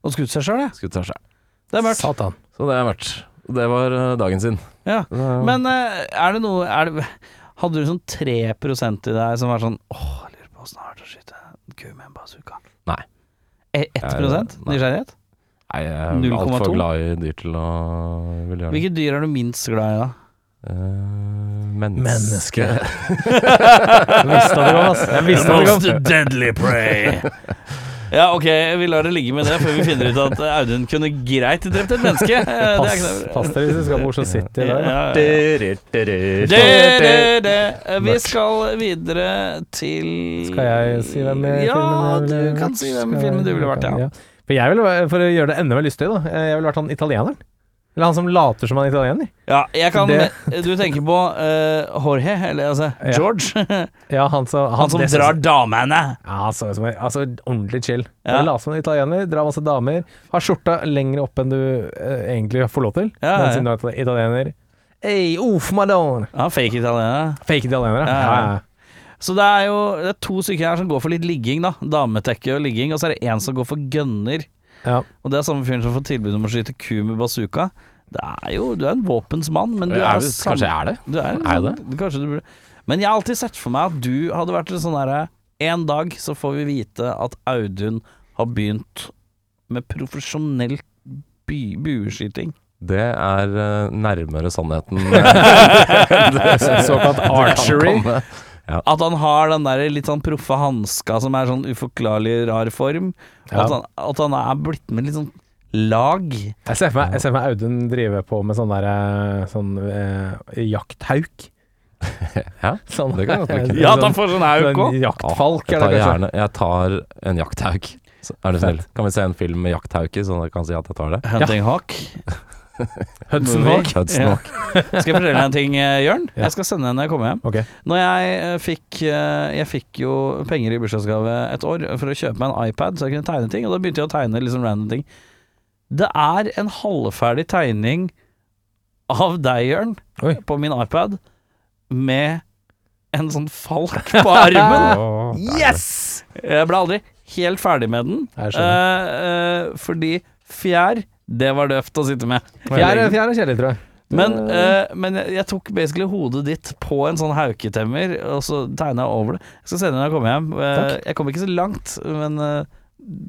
A: Og skutt seg sjøl, ja.
C: skutt seg selv.
A: Det er mørkt.
B: Satan.
C: Så det er mørkt. Det var eh, dagen sin.
A: Ja.
C: Det er-
A: Men eh, er det noe er det, Hadde du sånn 3 i deg som var sånn Åh, jeg lurer på åssen det har vært å skyte en ku med en bazooka?
C: Nei.
A: Eh, 1
C: Nei.
A: nysgjerrighet?
C: Nei, jeg er altfor
A: 0,2?
C: glad i dyr til å ville gjøre det.
A: Hvilke dyr er du minst glad i, da?
C: Eh, menneske.
B: Menneske. [LAUGHS] Jeg visste at det kom, ass. Jeg visste at det kom.
A: deadly prey.
B: [LAUGHS]
A: Ja, ok, vi lar det ligge med det før vi finner ut at eh, Audun kunne greit drept et menneske. Eh, Det er
B: Pass,
A: ikke noe-
B: pass dere hvis dere skal på Oslo City i dag. da.
A: Ja, ja, ja. Det,
C: Menneske.
A: det, det. Vi skal videre til
B: Skal jeg si hvem i
A: Ja,
B: filmen jeg ville
A: du kan
B: vært?
A: si hvem i
B: Skal
A: filmen
B: jeg-
A: du ville vært, ja.
B: For, jeg ville, vært- for å gjøre det enda mer lystig, da. eh, Jeg ville vært han italieneren. Eller han som later som han er italiener.
A: Ja, jeg kan
B: Det-
A: Du tenker på eh, Jorge, eller altså
B: Ja.
A: George? [LAUGHS] Han,
B: Ja, han, som- han,
A: som
B: det synes-
A: drar damene.
B: Ja, han så ut som en altså, ordentlig chill.
A: Ja.
B: Ja. Later som en italiener, drar masse damer. Har skjorta lenger opp enn du eh, egentlig får lov til.
A: Ja,
B: men
A: ja.
B: siden du er itali- italiener Ei, uff, madonna!
A: Ja, fake italiener.
B: Fake italienere.
A: Ja,
B: Ja,
A: ja.
B: ja.
A: Så det er jo det er to stykker her som går for litt ligging, da. Dametekke og ligging. Og så er det én som går for gønner.
B: Ja.
A: Og det er samme fyren som får tilbud om å skyte ku med bazooka. Det er jo, Du er en våpensmann, men du
C: Er
A: er
C: det-
A: sam-
C: kanskje jeg er det?
A: Du er,
C: Er jeg
A: det? Kanskje du burde Men jeg har alltid sett for meg at du hadde vært en sånn derre En dag så får vi vite at Audun har begynt med profesjonell by- bueskyting.
C: Det er eh, nærmere
B: [LAUGHS]
C: sannheten.
B: Såkalt archery.
C: Det kan komme.
A: At han har den der litt sånn proffe hanska som er sånn uforklarlig rar form. Og
B: Ja.
A: At, han, at han er blitt med litt sånn lag.
B: Jeg ser for meg, jeg ser for meg Audun drive på med sånn der eh, sånn eh, jakthauk.
C: [LAUGHS] Ja,
B: [LAUGHS] Sånn,
C: det kan godt være.
B: Ja, at han
A: får sånn
B: Sånn jaktfalk,
C: jeg
B: eller
C: tar
B: kanskje.
C: gjerne Jeg tar en jakthauk. Så Er du snill? Kan vi se en film med jakthauk i, sånn at jeg kan si at jeg tar det?
A: Hunting Hawk.
B: Hudson
A: Movie.
B: Hawk.
C: Hudson
A: Ja.
C: Hawk.
A: [LAUGHS] Skal jeg fortelle deg en ting, eh, Jørn?
B: Ja.
A: Jeg skal sende henne når jeg kommer hjem.
B: Ok.
A: Når jeg eh, fikk eh, Jeg fikk jo penger i bursdagsgave et år for å kjøpe meg en iPad så jeg kunne tegne ting, og da begynte jeg å tegne liksom random ting. Det er en halvferdig tegning av deg, Jørn,
B: Oi.
A: på min iPad, med en sånn falk på
B: [LAUGHS]
A: armen.
B: Åh,
A: Yes! Jeg ble aldri helt ferdig med den,
B: Jeg
A: eh, eh, fordi fjær, det var døvt å sitte med.
B: Fjær er fjær er kjedelig, tror jeg.
A: Men,
B: Det-
A: eh, men jeg, jeg tok basically hodet ditt på en sånn hauketemmer, og så tegna jeg over det. Jeg skal sende det når jeg kommer hjem. Eh, jeg kom ikke så langt, men eh,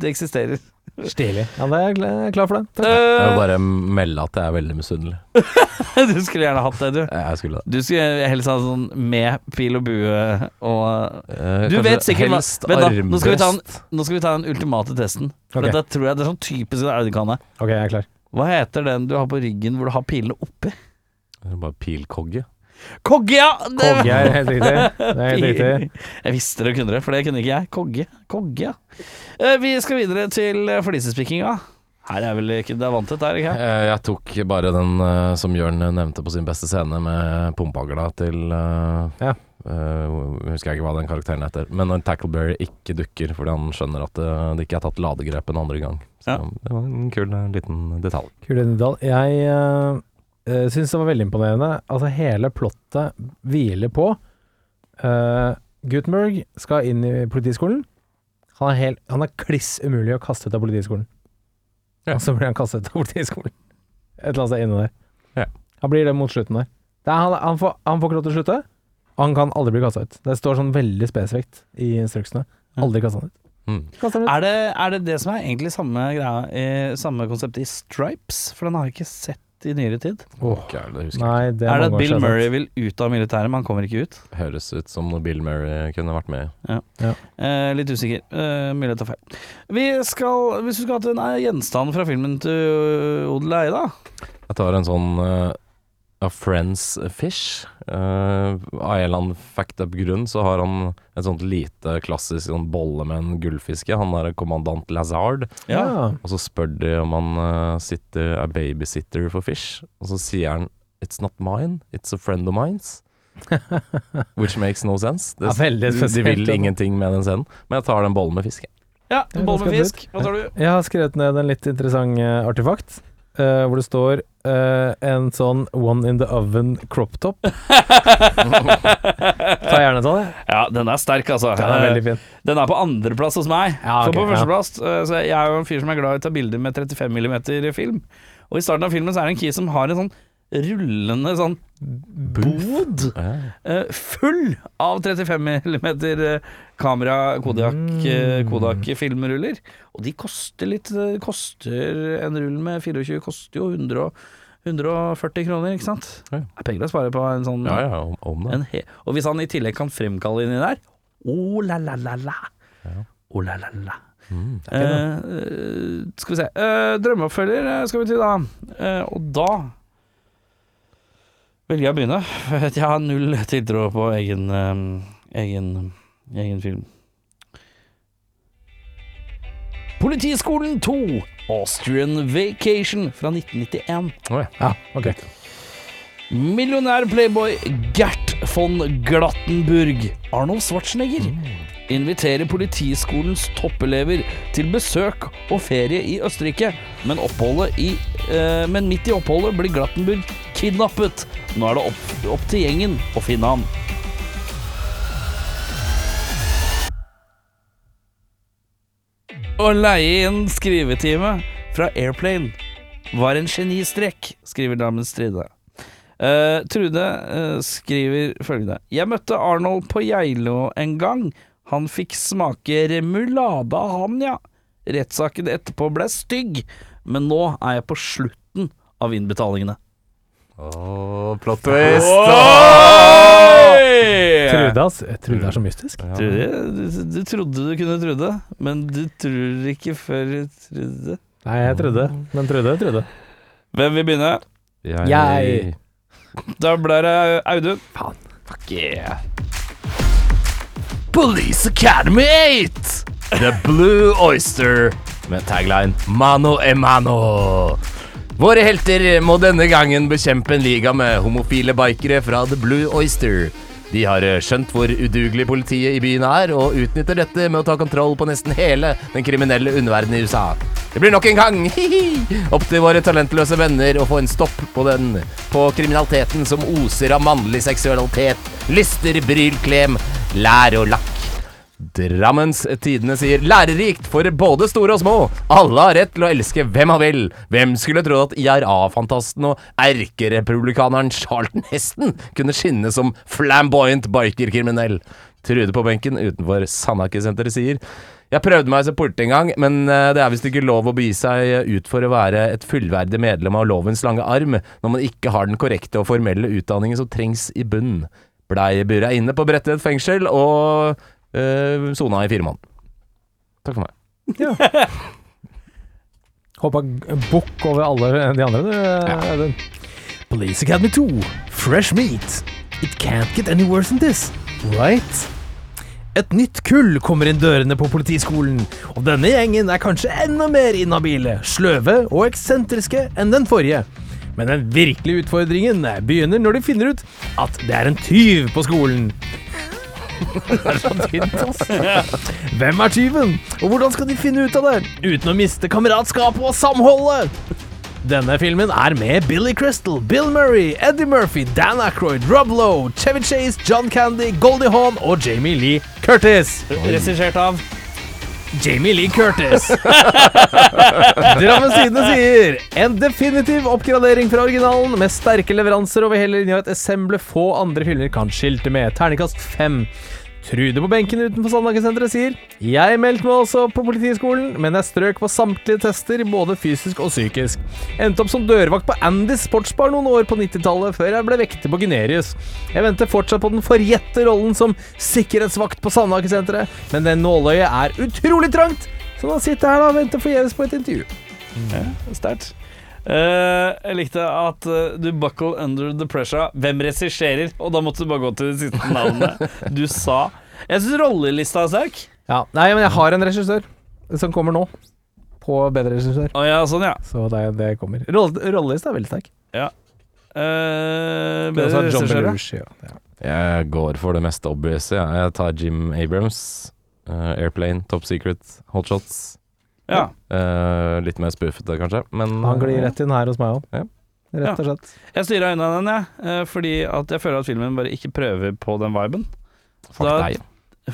A: det eksisterer.
B: Stilig. Ja, da er jeg kla- klar for det. Takk.
C: Jeg vil
A: Eh,
C: bare melde at jeg er veldig misunnelig.
A: [LAUGHS] du skulle gjerne hatt det, du.
C: Jeg skulle det.
A: Du skulle helst hatt sånn med pil og bue og
C: Eh,
A: Du
C: kanskje
A: vet sikkert hva
C: helst
A: Vent, da. Nå skal vi ta den,
C: armbrøst.
A: nå skal vi ta den ultimate testen. For
B: Ok.
A: dette tror jeg det er sånn typisk en Audi-kanne.
B: Ok, jeg er klar.
A: Hva heter den du har på ryggen hvor du har pilene oppi?
C: Det er Bare pilkogge.
A: Kogge, ja! Det-
B: Kogge er helt riktig. Det er
A: [LAUGHS]
B: helt riktig.
A: Jeg visste dere kunne det, for det kunne ikke jeg. Kogge. Kogge, ja. Eh, Vi skal videre til eh, flisespikkinga. Her er vel ikke det er vanntett, er det ikke? her?
C: Eh, Jeg tok bare den eh, som Jørn nevnte på sin beste scene med pumpehagla til eh,
B: Ja.
C: eh, Husker jeg ikke hva den karakteren heter. Men når Tackleberry ikke dukker fordi han skjønner at eh, det ikke er tatt ladegrep en andre gang. Så
A: Ja.
C: det var en kul eh, liten detalj.
B: Kul Dal. Jeg uh, syns det var veldig imponerende. Altså, hele plottet hviler på eh, Gutenberg skal inn i politiskolen. Han er, helt, han er kliss umulig å kaste ut av politiskolen.
C: Ja.
B: Og så blir han kastet ut av politiskolen. Et eller annet sted inne der.
C: Ja.
B: Han blir det mot slutten der. Det er, han, han, får, han får ikke lov til å slutte. og Han kan aldri bli kasta ut. Det står sånn veldig spesifikt i instruksene. Aldri kasta han ut.
C: Mm.
B: Kastet han ut.
A: Er det, er det det som er egentlig samme greia, eh, samme konsept i Stripes? For den har jeg ikke sett i nyere tid.
B: Åh,
C: Ok, det husker jeg.
B: Nei, det
A: er det
B: mange
A: at
B: år
A: Bill
B: siden. altså.
A: Murray vil ut av militæret, men han kommer ikke ut?
C: ikke. Høres ut som noe Bill Murray kunne vært med i.
A: Eh, litt usikker. Eh, mulig jeg tar feil. Vi skal, hvis du skulle hatt en eh, gjenstand fra filmen til eh, Odel Eida
C: Jeg tar en sånn eh, A Friends Fish. Eh, av en eller annen fucked up grunn så har han et sånt lite klassisk sånn bolle med en gullfiske. Han er kommandant Lazard.
A: Ja.
B: Ja.
C: Og så spør de om han eh, sitter, er babysitter for fish. Og så sier han It's not mine, it's a friend of
B: [LAUGHS]
C: mine's. Which makes no sense. Det,
B: Ja,
C: de,
B: veldig
C: de
B: spesielt,
C: vil
B: altså.
C: ingenting med den scenen. Men jeg tar den bollen med fisk. jeg.
A: ja
B: Ja,
A: Bolle med
B: det skal
A: fisk. Hva tar du?
B: Jeg har skrevet ned en litt interessant eh, artefakt. eh, hvor det står eh, en sånn one in the oven crop [LAUGHS] top. [LAUGHS]
A: [LAUGHS]
B: Ta gjerne en sånn, jeg.
A: Ja, den er sterk, altså.
B: Den er veldig fin.
A: Den er på andreplass hos meg.
B: Ja, ok,
A: For på
B: ja.
A: førsteplass eh, så Jeg er jo en fyr som er glad i å ta bilder med 35 mm film. Og i starten av filmen så er det en kis som har en sånn rullende sånn bod eh, full av 35 mm kamera Kodak,
B: Mm.
A: eh, Kodak-filmruller. Og de koster litt eh, koster En rull med 24 koster jo 100 og 140 kroner, ikke sant?
C: Ja.
A: Det er penger å spare på en sånn
C: Ja, ja, om, om det.
A: en he og hvis han i tillegg kan fremkalle inni der Oh la la la la Oh la la la
C: Mm,
A: Eh, Skal vi se Eh, Drømmeoppfølger eh, skal vi til da Eh, Og da Velger jeg å begynne [LAUGHS] For at jeg har null tiltro på egen eh, Egen Egen film Politiskolen 2 Austrian Vacation Fra 1991
B: Ja, ok.
A: Millionær playboy Gert von Glattenburg, Arnold Schwarzenegger, inviterer politiskolens toppelever til besøk og ferie i Østerrike, men, oppholdet i, eh, men midt i oppholdet blir Glattenburg kidnappet. Nå er det opp, opp til gjengen å finne ham. Å leie inn skrivetime fra Airplane var en genistrek, skriver Damen Stride. Eh, Trude eh, skriver følgende Jeg møtte Arnold på Geilo en gang. Han fikk smake remulade av han, ja. Rettssaken etterpå ble stygg, men nå er jeg på slutten av innbetalingene.
C: Åh, plot twist!
B: Trude, ass. Jeg tror det er så mystisk.
A: Trude, du, du trodde du kunne Trude, men du tror ikke før du Trude.
B: Nei, jeg trodde. Men Trude, Trude.
A: Hvem vil begynne?
C: Jeg,
B: Jeg-
A: Da blir det Audun.
B: Faen.
A: Fuck yeah. Police Academy 8! The Blue Oyster
C: Med tagline Mano e mano. Våre helter må denne gangen bekjempe en liga med homofile bikere fra The Blue Oyster. De har eh, skjønt hvor udugelig politiet i byen er, og utnytter dette med å ta kontroll på nesten hele den kriminelle underverdenen i USA. Det blir nok en gang hihi, opp til våre talentløse venner å få en stopp på den På kriminaliteten som oser av mannlig seksualitet, lyster, bryl, klem, lær og lakk. Drammens Tidende sier lærerikt for både store og små. Alle har rett til å elske hvem han vil. Hvem skulle tro at IRA-fantasten og erkerepublikaneren Charlton Heston kunne skinne som flamboyant bikerkriminell? Trude på benken utenfor Sandaker-senteret sier jeg prøvde meg som politi en gang, men eh, det er visst ikke lov å begi seg eh, ut for å være et fullverdig medlem av lovens lange arm når man ikke har den korrekte og formelle utdanningen som trengs i bunnen. Bleieburet er inne på Bredtvet fengsel, og eh, sona i fire måneder. Takk for meg.
B: Hoppa g- bukk over alle de andre, du, Audun. Police Academy 2. Fresh meat. It can't get any worse than this, right? Et nytt kull kommer inn dørene på politiskolen, og denne gjengen er kanskje enda mer inhabile, sløve og eksentriske enn den forrige. Men den virkelige utfordringen eh, begynner når de finner ut at det er en tyv på skolen. [LAUGHS] Det er så tynt, ass. Hvem er tyven, og hvordan skal de finne ut av det uten å miste kameratskapet og samholdet? Denne filmen er med Billy Crystal, Bill Murray, Eddie Murphy, Dan Aykroyd, Rob Lowe, Chevy Chase, John Candy, Goldie Hawn og Jamie Lee Curtis.
A: regissert av
B: Jamie Lee Curtis. [LAUGHS] Drammens Tidende sier En definitiv oppgradering fra originalen, med sterke leveranser over hele linja og et ensemble få andre filmer kan skilte med. Terningkast fem. Trude på benken utenfor Sandhagesenteret sier Jeg meldte meg også på politiskolen, men jeg strøk på samtlige tester, både fysisk og psykisk. Endte opp som dørvakt på Andys sportsbar noen år på 90-tallet, før jeg ble vekter på Gunerius. Jeg venter fortsatt på den forjette rollen som sikkerhetsvakt på Sandhagesenteret, men det nåløyet er utrolig trangt, så nå sitter jeg her da og venter forgjeves på et intervju.
A: Sterkt. Eh, jeg likte at eh, du buckle under the pressure. Hvem regisserer? Og da måtte du bare gå til det siste navnet
B: [LAUGHS]
A: du sa. Jeg syns rollelista er sterk.
B: Ja, nei, men jeg har en regissør som kommer nå. På bedre regissør.
A: Å ja, sånn, ja.
B: Så det, det kommer. Roll- Rollelista er veldig sterk.
A: Eh,
B: Men
A: bedre
B: også John
A: regissør, ja.
B: Belushi, ja. Ja.
C: Jeg går for det mest eh, obvious. Jeg tar Jim Abrams. Airplane, Top Secret, Hot Shots.
A: Ja.
C: Eh, litt mer spoofete, kanskje. Men
B: Han glir rett inn her hos meg òg.
C: Ja.
B: Rett og slett.
A: Jeg styra unna den, jeg, eh, fordi at jeg føler at filmen bare ikke prøver på den viben.
C: Fuck
A: Da-
C: deg.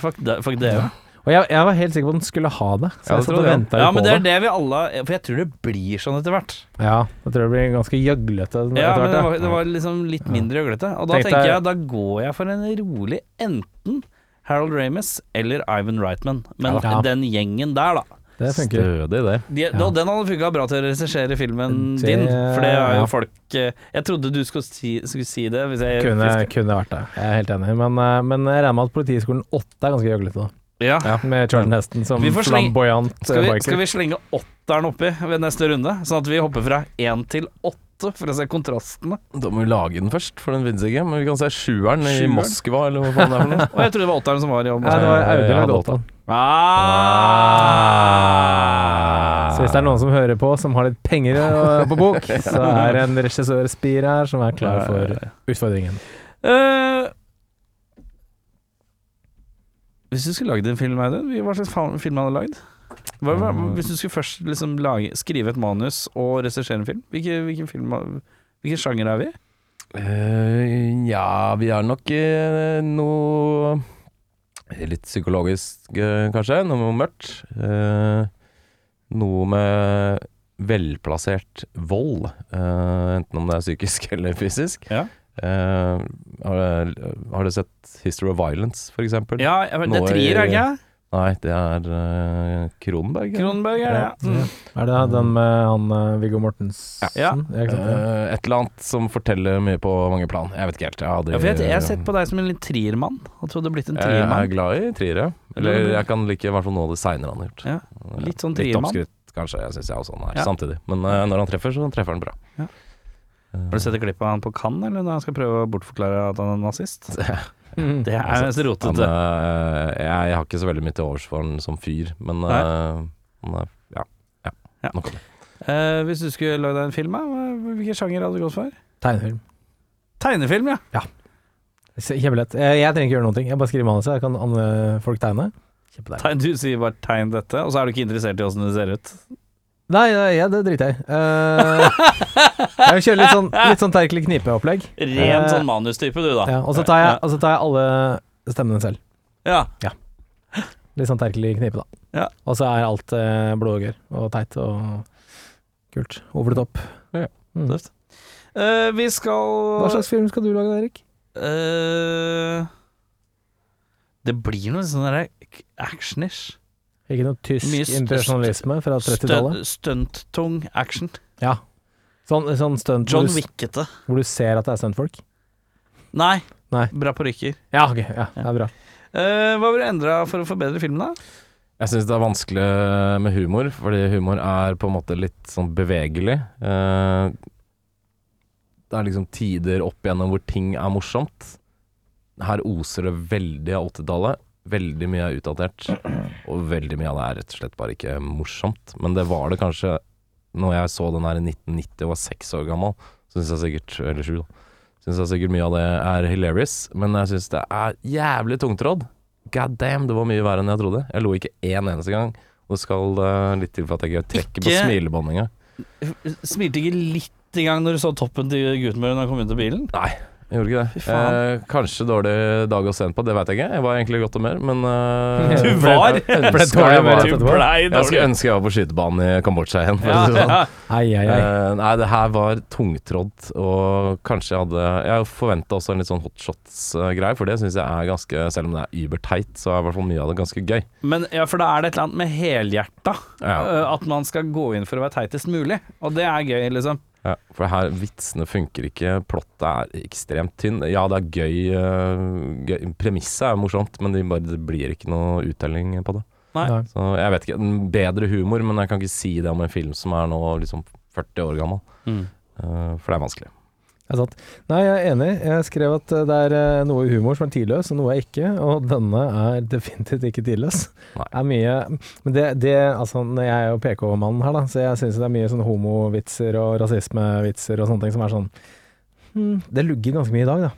A: Fuck, de, fuck det, ja.
B: Og jeg, jeg var helt sikker på at den skulle ha
C: Ja, det
B: det, så jeg satt
C: tror
B: og
C: jeg.
B: venta
A: ja.
B: på
A: Men det er det vi alle For jeg tror det blir sånn etter hvert.
B: Ja, jeg tror det blir ganske gjøglete.
A: Ja,
B: den etter
A: men det
B: hvert, ja.
A: var, det var liksom litt mindre gjøglete. Og da
B: Tenkte
A: tenker
B: jeg-
A: jeg da går jeg for en rolig enten Harold Ramis eller Ivan Reitman. Men
B: Ja.
A: den gjengen der, da.
B: det funker.
C: Stødig, det.
A: De, Og den hadde funka bra til å regissere filmen
B: Det-
A: din, for det er jo
B: ja.
A: folk eh, Jeg trodde du skulle si, skulle si det. Hvis jeg
B: Kunne,
A: hvis-
B: kunne vært det. Jeg er helt enig. Men, eh, men jeg regner med at Politiskolen 8 er ganske gjøglete, da.
A: Ja.
B: Med Charlton Heston som
A: Vi får slenge-
B: flamboyant eh,
A: Skal vi,
B: biker.
A: skal vi slenge åtteren oppi ved neste runde, sånn at vi hopper fra én til åtte for å se kontrastene?
C: Da må vi lage den først, for den finnes ikke. Men vi kan se sjueren i Moskva, eller hva faen det er for
A: [LAUGHS]
C: noe.
A: Og jeg trodde det var åtteren som var i
B: Nei,
A: omgang.
B: det var
C: Ja,
B: Audun lagde
C: det var
B: åttan.
C: Ah.
B: Så hvis det er noen som hører på som har litt penger eh, på [LAUGHS] bok, så er det en regissørspir her som er klar for utfordringen.
A: Eh, hvis du skulle lagd en film, Audun, hva slags fa- film hadde du lagd? Hva, hva, hvis du skulle først liksom lage, skrive et manus og regissere en film, hvilken, hvilken film Hvilken sjanger er vi i?
C: Eh, ja, vi er nok i noe litt psykologisk, eh, kanskje. Noe mørkt. Eh, noe med velplassert vold. eh, enten om det er psykisk [LAUGHS] eller fysisk.
A: Ja.
C: Eh, har, har du sett History of Violence, for eksempel?
A: Ja, jeg vet- det er
C: Nå er-
A: trier, er det ikke?
C: Nei, det er eh, Kronenberg. ja.
A: Kronberg, er det? Ja. Mm.
B: Er det den med han eh, Viggo Mortensen?
A: Ja.
B: ikke sant, ja.
C: Eh, et eller annet som forteller mye på mange plan. Jeg vet ikke helt. Jeg, har aldri-
A: Ja, for jeg, jeg har sett på deg som en litt triermann. Jeg trodde du hadde blitt en
C: Jeg er
A: triermann.
C: glad i triere.
A: Ja,
C: Eller
A: men-
C: jeg kan like i hvert fall noe av det seinere han har gjort.
A: Ja, litt sånn
C: Litt
A: triermann.
C: oppskrytt, kanskje. Jeg syns jeg også han er
A: Ja.
C: samtidig. Men eh, når han treffer, så treffer han bra.
A: Ja.
C: Eh,
A: Har du sett et klipp av han på Cannes, eller når han skal prøve å bortforklare at han er nazist?
B: Mm.
A: Det er mest
C: han,
A: rotete.
C: eh, jeg, jeg har ikke så veldig mye til overs for han som fyr, men eh, han er, ja, ja,
A: Ja.
C: Nok om det.
A: Eh, hvis du skulle lagd en film, eh, hva- hvilken sjanger hadde du gått for?
B: Tegnefilm.
A: Tegnefilm, ja.
B: Så Kjempelett. Jeg, jeg trenger ikke gjøre noen ting. Jeg bare skriver manuset. Jeg kan andre folk tegne. Kjempedeilig.
A: Tegn, du sier bare 'tegn dette', og så er du ikke interessert i åssen det ser ut.
B: Nei, nei, ja, det driter jeg i.
A: [LAUGHS]
B: Eh, jeg vil kjøre litt sånn, litt sånn Terkel Knipe-opplegg.
A: Ren
B: Eh,
A: sånn manustype, du, da.
B: Ja, og så tar, jeg, og så tar jeg alle stemmene selv.
A: Ja.
B: Litt sånn Terkel i knipe, da.
A: Ja.
B: Og så er alt eh, blodåger og teit og kult. Over the top.
C: Ja.
B: Mm.
A: Tøft. Eh, vi skal
B: Hva slags film skal du lage, Erik?
A: Eh, Det blir noe sånn der action-ish.
B: Ikke noe tysk
A: Mye st-
B: impresjonalisme fra 30-tallet?
A: Stø- Stunt-tung action.
B: Ja. Sånn, sånn stunt hvor
A: John
B: du,
A: Wickete.
B: hvor du ser at det er stuntfolk?
A: Nei.
B: Nei.
A: Bra parykker.
B: Ja, ok. Ja, det er bra.
A: Eh, hva ville du endra for å forbedre filmen, da?
C: Jeg syns det er vanskelig med humor, fordi humor er på en måte litt sånn bevegelig. Eh, det er liksom tider opp igjennom hvor ting er morsomt. Her oser det veldig av 80-tallet. Veldig mye er utdatert, og veldig mye av det er rett og slett bare ikke morsomt. Men det var det kanskje når jeg så den her i 1990 og var seks år gammel. Synes jeg sikkert, Eller sju, da. Syns jeg sikkert mye av det er hilarious, men jeg syns det er jævlig tungtrådd. God damn, det var mye verre enn jeg trodde. Jeg lo ikke én eneste gang. Og det skal eh, litt til for at jeg ikke trekker på
A: Ikke-
C: smilebåndet engang.
A: Smilte ikke litt i gang når du så toppen til Gutenberg når han kom inn til bilen?
C: Jeg gjorde ikke
A: Fy
C: det.
A: faen.
C: Eh, kanskje dårlig dag å sende på, det veit jeg ikke. Jeg var egentlig i godt humør, men eh,
B: Du
C: jeg [LAUGHS]
A: var-
C: ønsker jeg
B: ble dårlig humør
C: var-
B: etterpå.
C: Jeg skulle ønske jeg var på skytebanen i Kambodsja igjen. For å si det
A: [LAUGHS]
C: sånn.
B: Ai, ai, ai.
C: Eh, nei, det her var tungtrådd, og kanskje jeg hadde Jeg forventa også en litt sånn hotshots-greie, for det syns jeg er ganske Selv om det er überteit, så er i hvert fall mye av det ganske gøy.
A: Men ja, for da er det et eller annet med helhjerta.
C: Ja.
A: eh, At man skal gå inn for å være teitest mulig. Og det er gøy, liksom.
C: Ja, for det her, vitsene funker ikke, plottet er ekstremt tynn. Ja, det er gøy, eh, gøy Premisset er morsomt, men det, bare, det blir ikke noe uttelling på det.
A: Nei.
B: Nei.
C: Så jeg vet ikke, en Bedre humor, men jeg kan ikke si det om en film som er nå liksom 40 år gammel. Eh, for det er vanskelig.
B: Det er sant. Nei, jeg er enig. Jeg skrev at eh, det er eh, noe i humor som er tidløs, og noe er ikke. Og denne er [LAUGHS] definitivt ikke tidløs.
C: Nei.
B: Det er mye Men det, det Altså, når jeg er jo PK-mannen her, da, så jeg syns det er mye sånn homovitser og rasismevitser og sånne ting som er sånn hmm, Det lugger ganske mye i dag, da.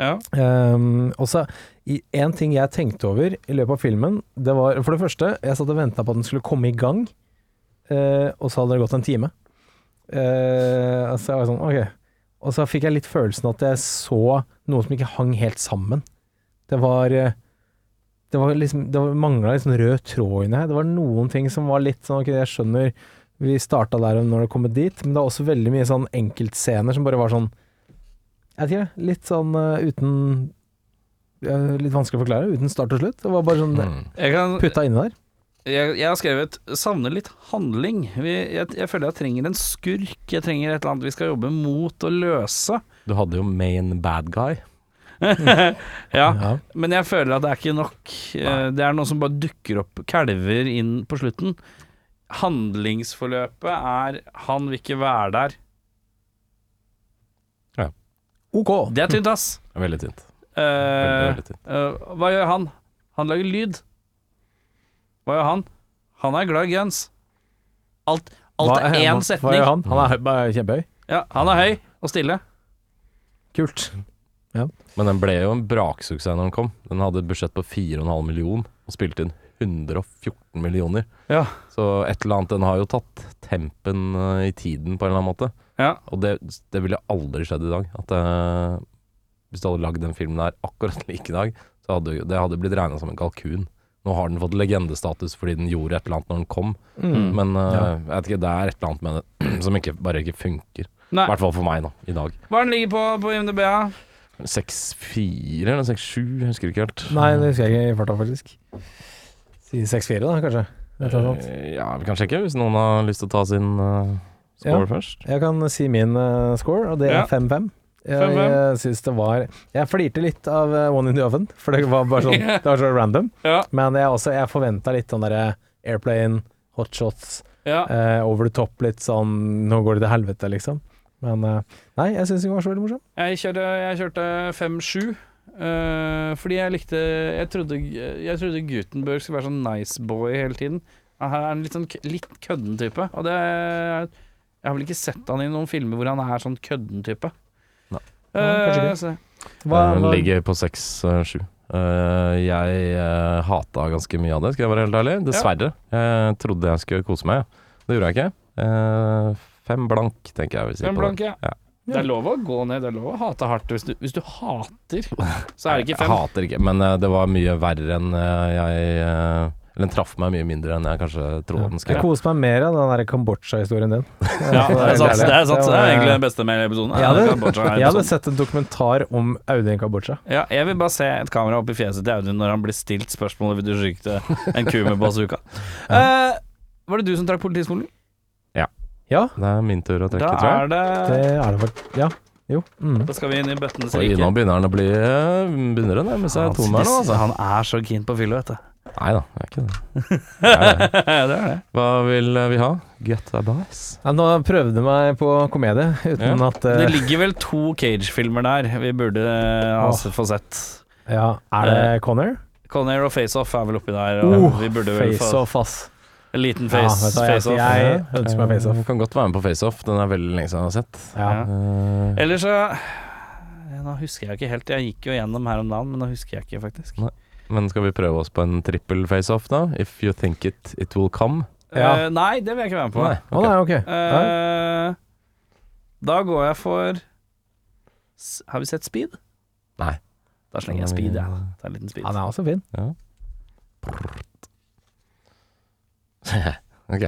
A: Ja.
B: Um, og så i- en ting jeg tenkte over i løpet av filmen, det var for det første Jeg satt og venta på at den skulle komme i gang. eh, og så hadde det gått en time. Eh, altså jeg var sånn, ok. Og så fikk jeg litt følelsen at jeg så noe som ikke hang helt sammen. Det var eh, Det, var liksom, det var- mangla litt sånn rød tråd inni her. Det var noen ting som var litt sånn Ok, jeg skjønner vi starta der og når det kom dit, men det er også veldig mye sånn enkeltscener som bare var sånn Jeg vet ikke, litt sånn eh, uten eh, Litt vanskelig å forklare. Uten start og slutt. Det var bare sånn
C: Mm.
A: Jeg, kan,
B: putta inni der.
A: jeg, jeg har skrevet 'savner litt handling'. Vi, jeg, jeg føler jeg trenger en skurk. Jeg trenger et eller annet vi skal jobbe mot å løse.
C: Du hadde jo main bad guy.
A: Ja,
B: Ja.
A: Men jeg føler at det er ikke nok. Eh, Det er noe som bare dukker opp kalver inn på slutten. Handlingsforløpet er 'han vil ikke være der'.
B: OK.
A: Det er tynt, ass.
C: Veldig tynt.
A: Eh,
C: Veldig, veldig tynt.
A: eh, hva gjør han? Han lager lyd. Hva gjør han? Han er glad i guns. Alt, alt er én
B: Hva
A: setning.
B: gjør
A: Han?
B: han? Han er høy- bare kjempehøy.
A: Ja, han er høy og stille.
B: Kult.
C: Men den ble jo en braksuksess når den kom. Den hadde et budsjett på 4,5 million og spilte inn 114 millioner.
A: Ja.
C: Så et eller annet Den har jo tatt tempen eh, i tiden på en eller annen måte.
A: Ja.
C: Og det, det ville aldri skjedd i dag. At eh, Hvis du hadde lagd den filmen der akkurat [LAUGHS] like i dag, så hadde jo- det hadde blitt regna som en kalkun. Nå har den fått legendestatus fordi den gjorde et eller annet når den kom,
B: Mm.
C: men eh,
B: Ja.
C: jeg vet ikke, det er et eller annet med det [CLEARS THROAT] som ikke, bare ikke funker.
A: Nei.
C: I hvert fall for meg, da. I dag.
A: Hva er den ligger på på IMDb? da?
C: 6-4 eller 6-7, jeg husker ikke helt. Eh,
B: Nei, det husker jeg ikke i farta, faktisk. Si 6-4, da, kanskje. Et eller annet sånt.
C: Eh, Ja, vi kan sjekke hvis noen har lyst til å ta sin eh, score først.
B: Jeg kan si min eh, score, og det
A: Ja.
B: er 5-5. Jeg,
A: 5-5.
B: jeg syns det var Jeg flirte litt av eh, One in the Oven, for det var
A: [LAUGHS]
B: bare sånn Det var så random.
A: Ja.
B: Men jeg, også- jeg forventa litt den derre airplane, hotshots,
A: Ja.
B: eh, over the top, litt sånn Nå går det til helvete, liksom. Men eh, nei, jeg syns ikke den var så veldig morsom.
A: Jeg, kjørte, jeg kjørte 5-7 eh, fordi jeg likte jeg trodde, jeg trodde Gutenberg skulle være sånn nice boy hele tiden. Men Her er han litt sånn k- litt kødden type. Og det Jeg har vel ikke sett han i noen filmer hvor han er sånn kødden type.
C: Nei.
A: Eh,
B: Nei, kanskje ikke.
A: så-
B: Hva-
C: Den
B: hva-
C: Eh, ligger på 6-7. Eh, jeg uh, hata ganske mye av det, skal jeg være helt ærlig. Dessverre. Jeg trodde jeg skulle kose meg, det gjorde jeg ikke. Eh, fem blank, tenker jeg vil si.
A: Fem
C: på
A: blank,
C: det.
A: ja. Det er lov å gå ned, det er lov å hate hardt. Hvis du, hvis du hater, så er det
C: Jeg
A: ikke fem.
C: hater ikke, men eh, det var mye verre enn eh, jeg eh, Eller den traff meg mye mindre enn jeg kanskje trodde den
B: Jeg
C: skulle.
B: koser meg mer av den der Kambodsja-historien din.
A: [LAUGHS] Ja, det er sant. Det
B: deilig.
A: er, sant. Det
B: Det var-
A: er egentlig det beste med hele episoden.
B: Jeg hadde,
A: Kambodsja er
B: jeg hadde
A: episoden.
B: sett en dokumentar om Audun Kambodsja.
A: Ja, jeg vil bare se et kamera opp i fjeset til Audun når han blir stilt spørsmålet Vil du skyte en ku med [LAUGHS] bazooka. Eh, var det du som trakk politiskolen?
C: Det er min tur å
A: Da
C: trekke, tror jeg.
A: er det
B: Det er det faktisk. Ja. Jo. Mm.
A: Da skal vi inn i bøttenes
C: Oi, nå
A: rike.
C: begynner den å bli eh, Begynner den å nærme seg tom her nå, altså.
A: Han er så keen på fylla, [LAUGHS] vet du.
C: Nei da, jeg er ikke det. [LAUGHS]
A: det er det.
C: Hva vil eh, vi ha? Get a bice.
B: Ja, nå prøvde jeg meg på komedie uten at
A: Det
B: eh,
A: ligger vel to Cage-filmer der vi burde eh, ha
B: Åh.
A: s- få sett.
B: Ja,
A: Eh,
B: er det Connor?
A: Conair og Face Off er vel oppi der. Og
B: Oh,
A: vi burde vel
B: face
A: få
B: off, ass.
A: en liten
B: Ja,
A: face,
B: vet du hva, jeg,
A: face off.
B: jeg ønsker meg face
C: Du
B: off.
C: Eh, kan godt være med på FaceOff. Den er veldig lenge siden jeg har sett.
B: Ja.
A: Ja.
C: Eh,
A: Eller så Nå husker jeg ikke helt. Jeg gikk jo gjennom her om dagen, men nå husker jeg ikke, faktisk.
C: men skal vi prøve oss på en trippel FaceOff, da? If you think it, it will come.
B: Ja.
A: Eh, nei, det vil jeg ikke være med på.
C: Nei,
B: Å
C: ok.
B: nei, ok. Nei.
A: Eh, da går jeg for S- Har vi sett Speed?
C: Nei.
A: Da slenger jeg Speed, jeg. Ja. Ta en liten Speed.
B: Mm. Han er også fin.
C: Ok.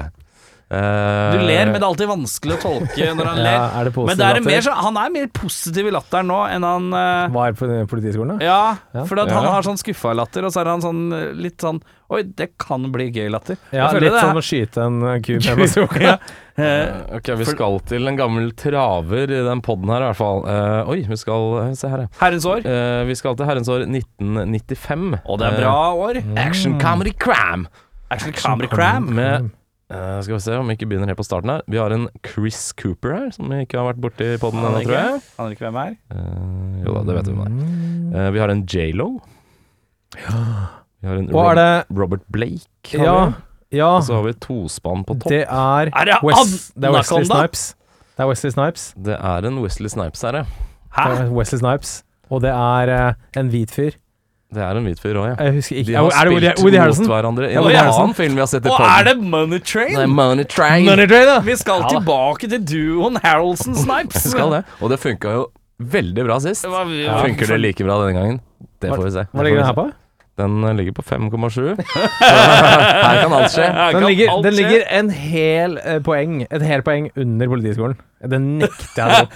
C: Eh,
A: Du ler, men det er alltid vanskelig å tolke når han
B: [LAUGHS] Ja,
A: ler.
B: er det
A: Men
B: positiv
A: det er en mer,
B: latter?
A: så- han er mer positiv i latteren nå enn han eh,
B: Var på politiskolen, da?
A: Ja,
B: Ja.
A: for at
C: Ja.
A: han har sånn skuffa latter, og så er han sånn eh, litt sånn Oi, det kan bli gøy latter.
B: Ja,
A: Jeg føler
B: litt
A: det er-
B: sånn å skyte en eh,
A: [LAUGHS]
B: ku med bazooka.
A: Ja. Eh,
C: eh, ok, vi skal til en gammel traver i den poden her, i hvert fall. Eh, oi, vi skal Se her, ja.
A: Herrens år.
C: Eh, vi skal til herrens år 1995.
A: Og det er bra år.
C: Eh, action comedy cram!
A: Actually, Camry Cram.
C: Med eh, Skal vi se om vi ikke begynner helt på starten her. Vi har en Chris Cooper her, som vi ikke har vært borti i poden
A: Aner
C: ennå, tror jeg.
A: ikke- Aner ikke hvem er.
C: Eh, jo da, det vet vi om det.
B: Mm.
C: Eh, vi har en J.Lo. Vi har en
B: Og er
C: Rob
B: det
C: Robert Blake. har
B: Ja,
C: vi.
B: ja.
C: Og så har vi et tospann på topp. Det,
B: Det er
A: Er det
B: Wes- det er Wesley
A: Anaconda?
B: Snipes. Det er Wesley Snipes.
C: er en Wesley Snipes her, ja.
B: Det er Wesley Snipes. Og det er eh, en hvit fyr.
C: Det er en hvit fyr òg, ja.
B: Jeg husker ikke
C: De har
B: Er det Woody,
C: spilt
B: Woody
C: mot
B: Harrelson?
C: hverandre i en
A: Woody Harrelson?
C: annen film vi har sett i
A: Og
C: podden.
A: er det Money Train?
C: Nei, Money Train.
B: Money Train, da!
A: Vi skal tilbake til duoen Harroldson Snipes.
C: Skal det. Og det funka jo veldig bra sist.
A: Hva- vi-
C: Funker det like bra denne gangen? Det får vi se.
B: Hva
C: Det
B: ligger
C: får
B: den her
C: vi
B: på?
C: se. Den eh, ligger på [LAUGHS] 5,7. Her kan alt skje.
A: Her kan
B: Den ligger,
A: alt
B: den
A: skje.
B: ligger en hel eh, poeng Et hel poeng under Politiskolen. Det nekter
C: [LAUGHS]
B: jeg å tro.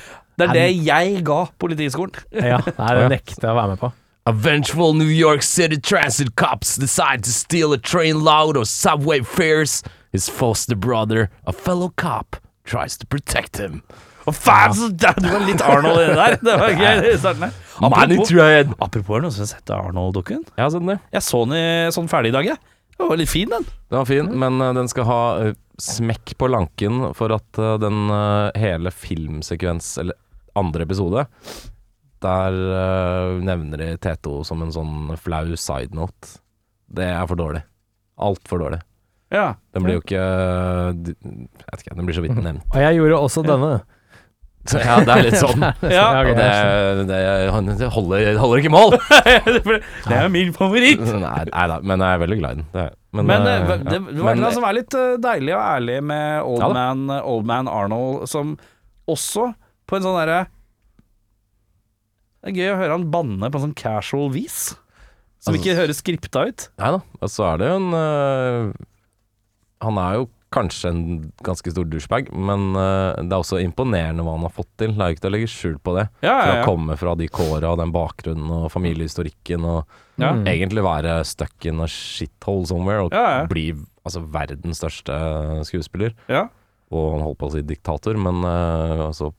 A: Det er det jeg ga politiskolen. [LAUGHS]
B: Ja, nei, det nekter jeg å være med på.
C: A vengeful New York City transit cops decide to steal a train load of subway fares. His foster brother, a fellow cop, tries to protect him.
A: Og faen, så der, du var litt Arnold i det der. Det var gøy i starten her. Apropos,
C: Train!
A: apropos er det noen som har sett Arnold-dukken?
C: Jeg har sett den, ja.
A: Jeg så den i, sånn ferdig i dag, jeg. Den var litt fin, den.
C: Den var fin, men eh, den skal ha eh, smekk på lanken for at eh, den eh, hele filmsekvens, eller andre episode, der eh, nevner de T2 som en sånn flau side note. Det er for dårlig. Altfor dårlig.
A: Ja.
C: Den blir jo ikke eh, d- Jeg vet ikke, den blir så vidt nevnt.
B: Og jeg gjorde også denne.
C: Ja, det er litt sånn.
A: Ja,
C: [LAUGHS] Og
B: ok,
C: det,
B: jeg skjønner.
C: det, han- det holder, det holder ikke mål! [LAUGHS]
A: Det er min favoritt.
C: Nei, nei da, men jeg er veldig glad i den. Det er jeg.
A: Men eh,
C: eh,
A: det, det
C: ja.
A: var
C: Men,
A: noe som er litt eh, deilig og ærlig med Old,
C: Ja da.
A: man, old man Arnold, som også på en sånn derre Det er gøy å høre han banne på en sånn casual vis, som
C: Altså-
A: ikke høres skripta ut.
C: Nei da, og så er det jo en øh, Han er jo kanskje en ganske stor douchebag, men øh, det er også imponerende hva han har fått til. Det er jo ikke til å legge skjul på det.
A: Ja,
C: For å
A: ja,
C: komme fra de kåra og den bakgrunnen og familiehistorikken og
A: ja. ja.
C: egentlig være stuck in a shithole somewhere og
A: Mm. Ja, ja.
C: bli altså, verdens største skuespiller.
A: ja.
C: Og han holdt på å si diktator, men øh, altså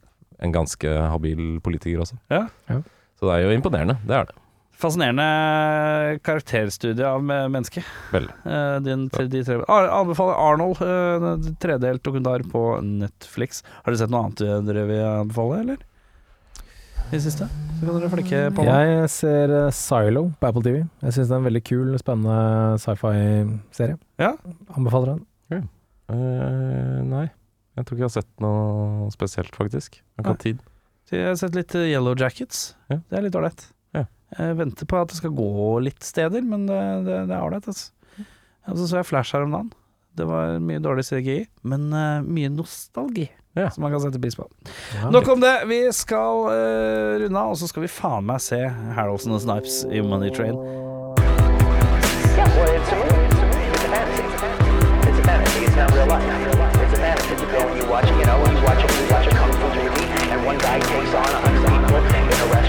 C: en ganske habil politiker også.
A: Ja.
B: Ja.
C: Så det er jo imponerende, det er det.
A: Fascinerende karakterstudie av me- mennesket.
C: Veldig.
A: Eh, Din, de tre, Ar- anbefaler Arnold, eh, en tredelt dokumentar på Netflix. Har dere sett noe annet dere vil anbefale, eller? I det siste? Så kan dere flikke på noe.
B: Jeg ser eh, Silo på Apple TV. Jeg syns det er en veldig kul, spennende sci-fi-serie.
A: Ja.
B: Anbefaler den.
C: Eh, nei, jeg tror ikke jeg har sett noe spesielt, faktisk. Jeg har ikke hatt tid.
A: Så Jeg har sett litt eh, Yellow Jackets.
C: Ja.
A: Det er litt ålreit.
C: Ja.
A: Jeg venter på at det skal gå litt steder, men det, det, det er ålreit. Altså. Og så så jeg Flash her om dagen. Det var mye dårlig CGI, men eh, mye nostalgi
C: Ja.
A: som man kan sette pris på.
B: Ja.
A: Nok om det. Vi skal eh, runde av, og så skal vi faen meg se Harroldson og Snipes i Money Train.
D: Yeah, well, it's a movie. It's a fantasy. It's a fantasy. It's not real life. It's a fantasy. You go and you watch, you know, you watch a, you watch a kung fu movie, and one guy takes on a hundred people in a restaurant.